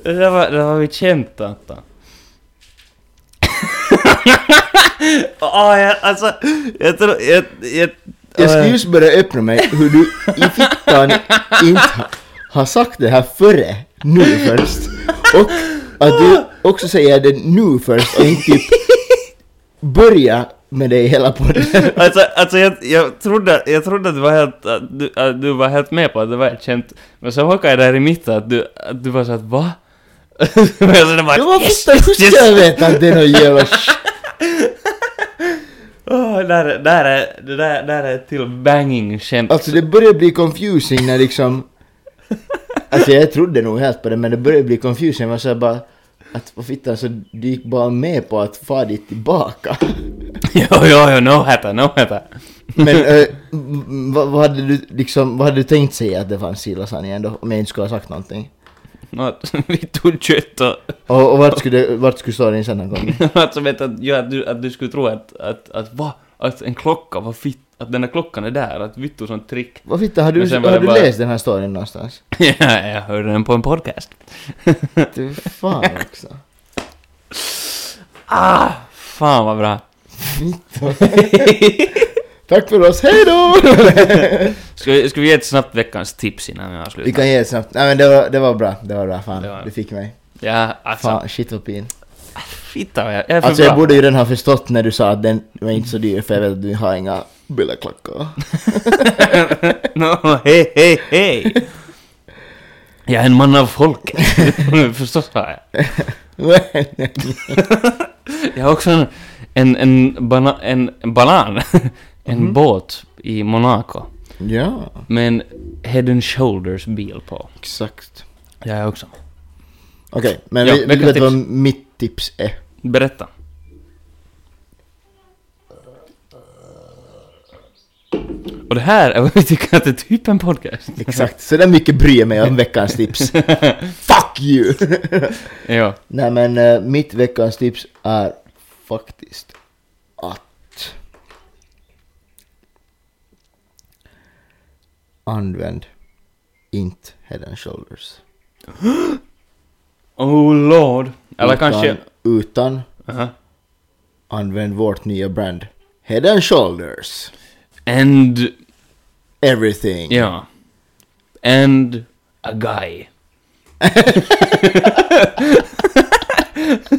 Det där var, det där var mitt skämt Anton. Åh, jag, alltså, jag tror, jag, jag... Jag Eh. skulle just börja öppna mig hur du i fittan inte ha- har sagt det här före, nu först. Och att du också säger det nu först och inte typ börja med det i hela podden. Alltså, alltså jag, jag, trodde, jag trodde att du var helt, att du, att du var helt med på att det var ett skämt. Men så hakade jag där i mitten att du, att du var så att va? Och jag sådär bara Ja, varför yes, ska- hur yes, ska jag veta att det är någon jävla sh- Åh, där, där är, det där, där är ett till banging skämt. Alltså det börjar bli confusing när liksom... Alltså jag trodde nog helt på det men det börjar bli confusing. Man säger bara att vad fittan så du gick bara med på att få dit tillbaka. jo, jo, jo, no hätta, no hätta. Men eh, m- vad, vad hade du liksom, vad hade du tänkt säga att det fanns i lasagnen då? Om jag inte skulle ha sagt någonting. Något, vi tog kött och Och, och vart skulle, det- vart skulle storyn sen ha gått? något som hette att, ja, att, du, att du skulle tro att, att, att va? Att en klocka var fitt, att den där klockan är där, att vittu sånt trick. Vad fittan, har Men du, sen var har det du bara- läst den här storyn någonstans? ja, jag hörde den på en podcast. Du fan också. Ah, fan vad bra. Tack för oss, hejdå! Ska vi, ska vi ge ett snabbt veckans tips innan vi avslutar? Vi kan ge ett snabbt, nej men det var, det var bra, det var bra, fan. Det var- Du fick mig. Ja, alltså. Fan, shit vad pin. Fitta vad jag, jag är för Alltså bra. jag borde ju redan ha förstått när du sa att den var inte så dyr för jag vet att du har inga Bileklackar. no, hej, hej, hej! Jag är en man av folket. Förstås har jag. Jag har också en, en, en, bana, en, en banan, en Mhm. båt i Monaco ja, med en head and shoulders bil på. exakt. Jag är också. Okej, men Ja, vi, vi veckans vet tips. vad mitt tips är. Berätta. Och det här är vad vi tycker att det är typ en podcast. Exakt, så där mycket bryr jag mig om veckans tips. Fuck you! Ja. Nej men eh, mitt veckans tips är faktiskt att använd inte head and shoulders. Oh lord. Uh-huh. Eller kanske... Utan Aha. använd vårt nya brand Head and shoulders. And... Everything. Ja. And... A guy.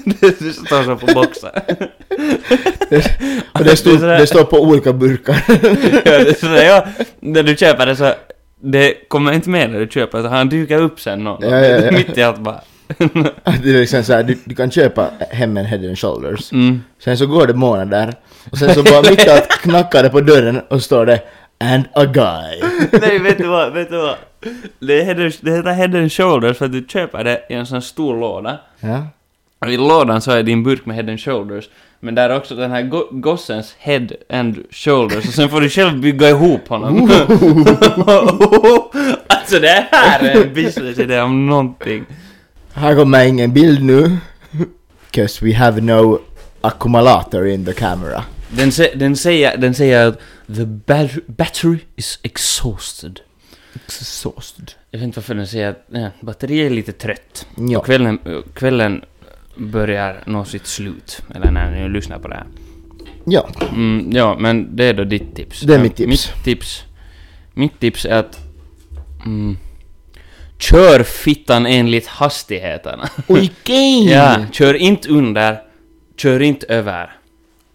det det står så på boxen. Och det, stod, Det är sådär- det står på olika burkar. ja, det är sådär, ja, när du köper det så... Det kommer inte med när du köper det, han dyker upp sen någon Ja, ja, ja. Mitt i allt bara... det är liksom såhär, du, du kan köpa hem en head and shoulders. Mm. Sen så går det månader. Och sen så bara mitt i allt knackar det på dörren och står det And a guy. Nej, vet du vad? Vet du vad? Det, är head and, det heter Head and Shoulders för att du köper det i en sån stor låda. Ja. Och i lådan så är din burk med Head and Shoulders. Men där är också den här go- gossens Head and Shoulders. Och sen får du själv bygga ihop honom. alltså det här är en businessidé om någonting. Här kommer ingen bild nu. 'Cause we have no ackumulator in the camera. Den, sä- den, säger, den säger att the bat- battery is exhausted. Exhausted. Jag vet inte varför den säger att ja, batteriet är lite trött. Ja. Och kvällen, kvällen börjar nå sitt slut. Eller när ni lyssnar på det här. Ja. Mm, ja, men det är då ditt tips. Det är Ja, mitt tips. Mitt tips, mitt tips är att... Mm, kör fittan enligt hastigheterna. Okej! ja, kör inte under, kör inte över.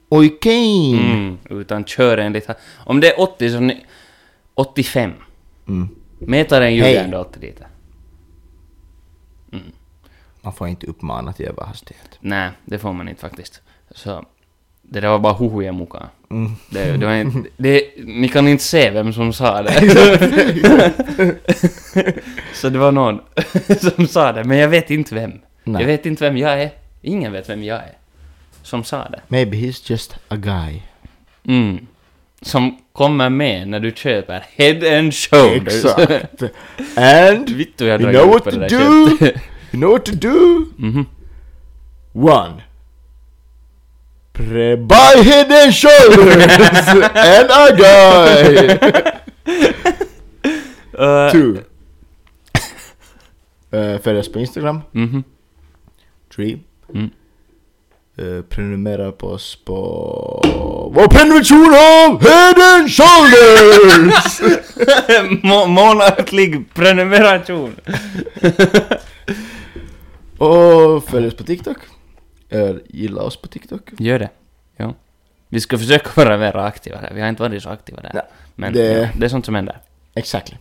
Okej! Mm, utan kör enligt... ha- Om det är 80 så... Ni, 85. Mm. Mätaren Hej. ljuger ändå alltid lite. Man får inte uppmana till överhastighet. Nej, det får man inte faktiskt. Så det där var bara hohoja mukaan. Mm. Det, det var inte, det, ni kan inte se vem som sa det. så det var någon som sa det, men jag vet inte vem. Nej. Jag vet inte vem jag är. Ingen vet vem jag är. Som sa det. Maybe he's just a guy. Mm. Som kommer med när du köper head and shoulders. Exakt. And Vittu jag drar you know ihop what på to det där do? köpet. You know what to do? Mhm. One. Pre-buy head and shoulders and a guy. Eh, Two. Eh, Följ oss på Instagram. mhm. Three. Mm. Eh, prenumerera på oss på vår prenumeration av Head and Shoulders! Må- Månatlig prenumeration. och följ oss på TikTok. Eh, gilla oss på TikTok. Gör det. Ja. Vi ska försöka vara mer aktiva där. Vi har inte varit så aktiva där. Nej, Men det- ja, det är sånt som händer. Exakt.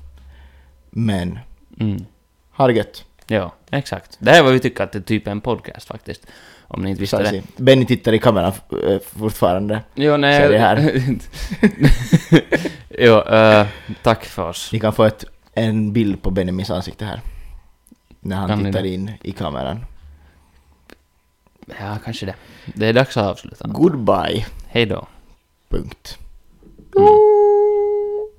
Men, Mm. ha det gött. Ja, exakt. Det här är vad vi tycker att det är typ en podcast faktiskt. Om ni inte visste det. Saisi. Benny tittar i kameran eh, fortfarande. Jo, nej. Ser det här. jo, eh, tack för oss. Ni kan få ett, en bild på Benjamins ansikte här. När han Kan ni tittar det? in i kameran. Ja, kanske det. Det är dags att avsluta. Goodbye. Hej då. Punkt.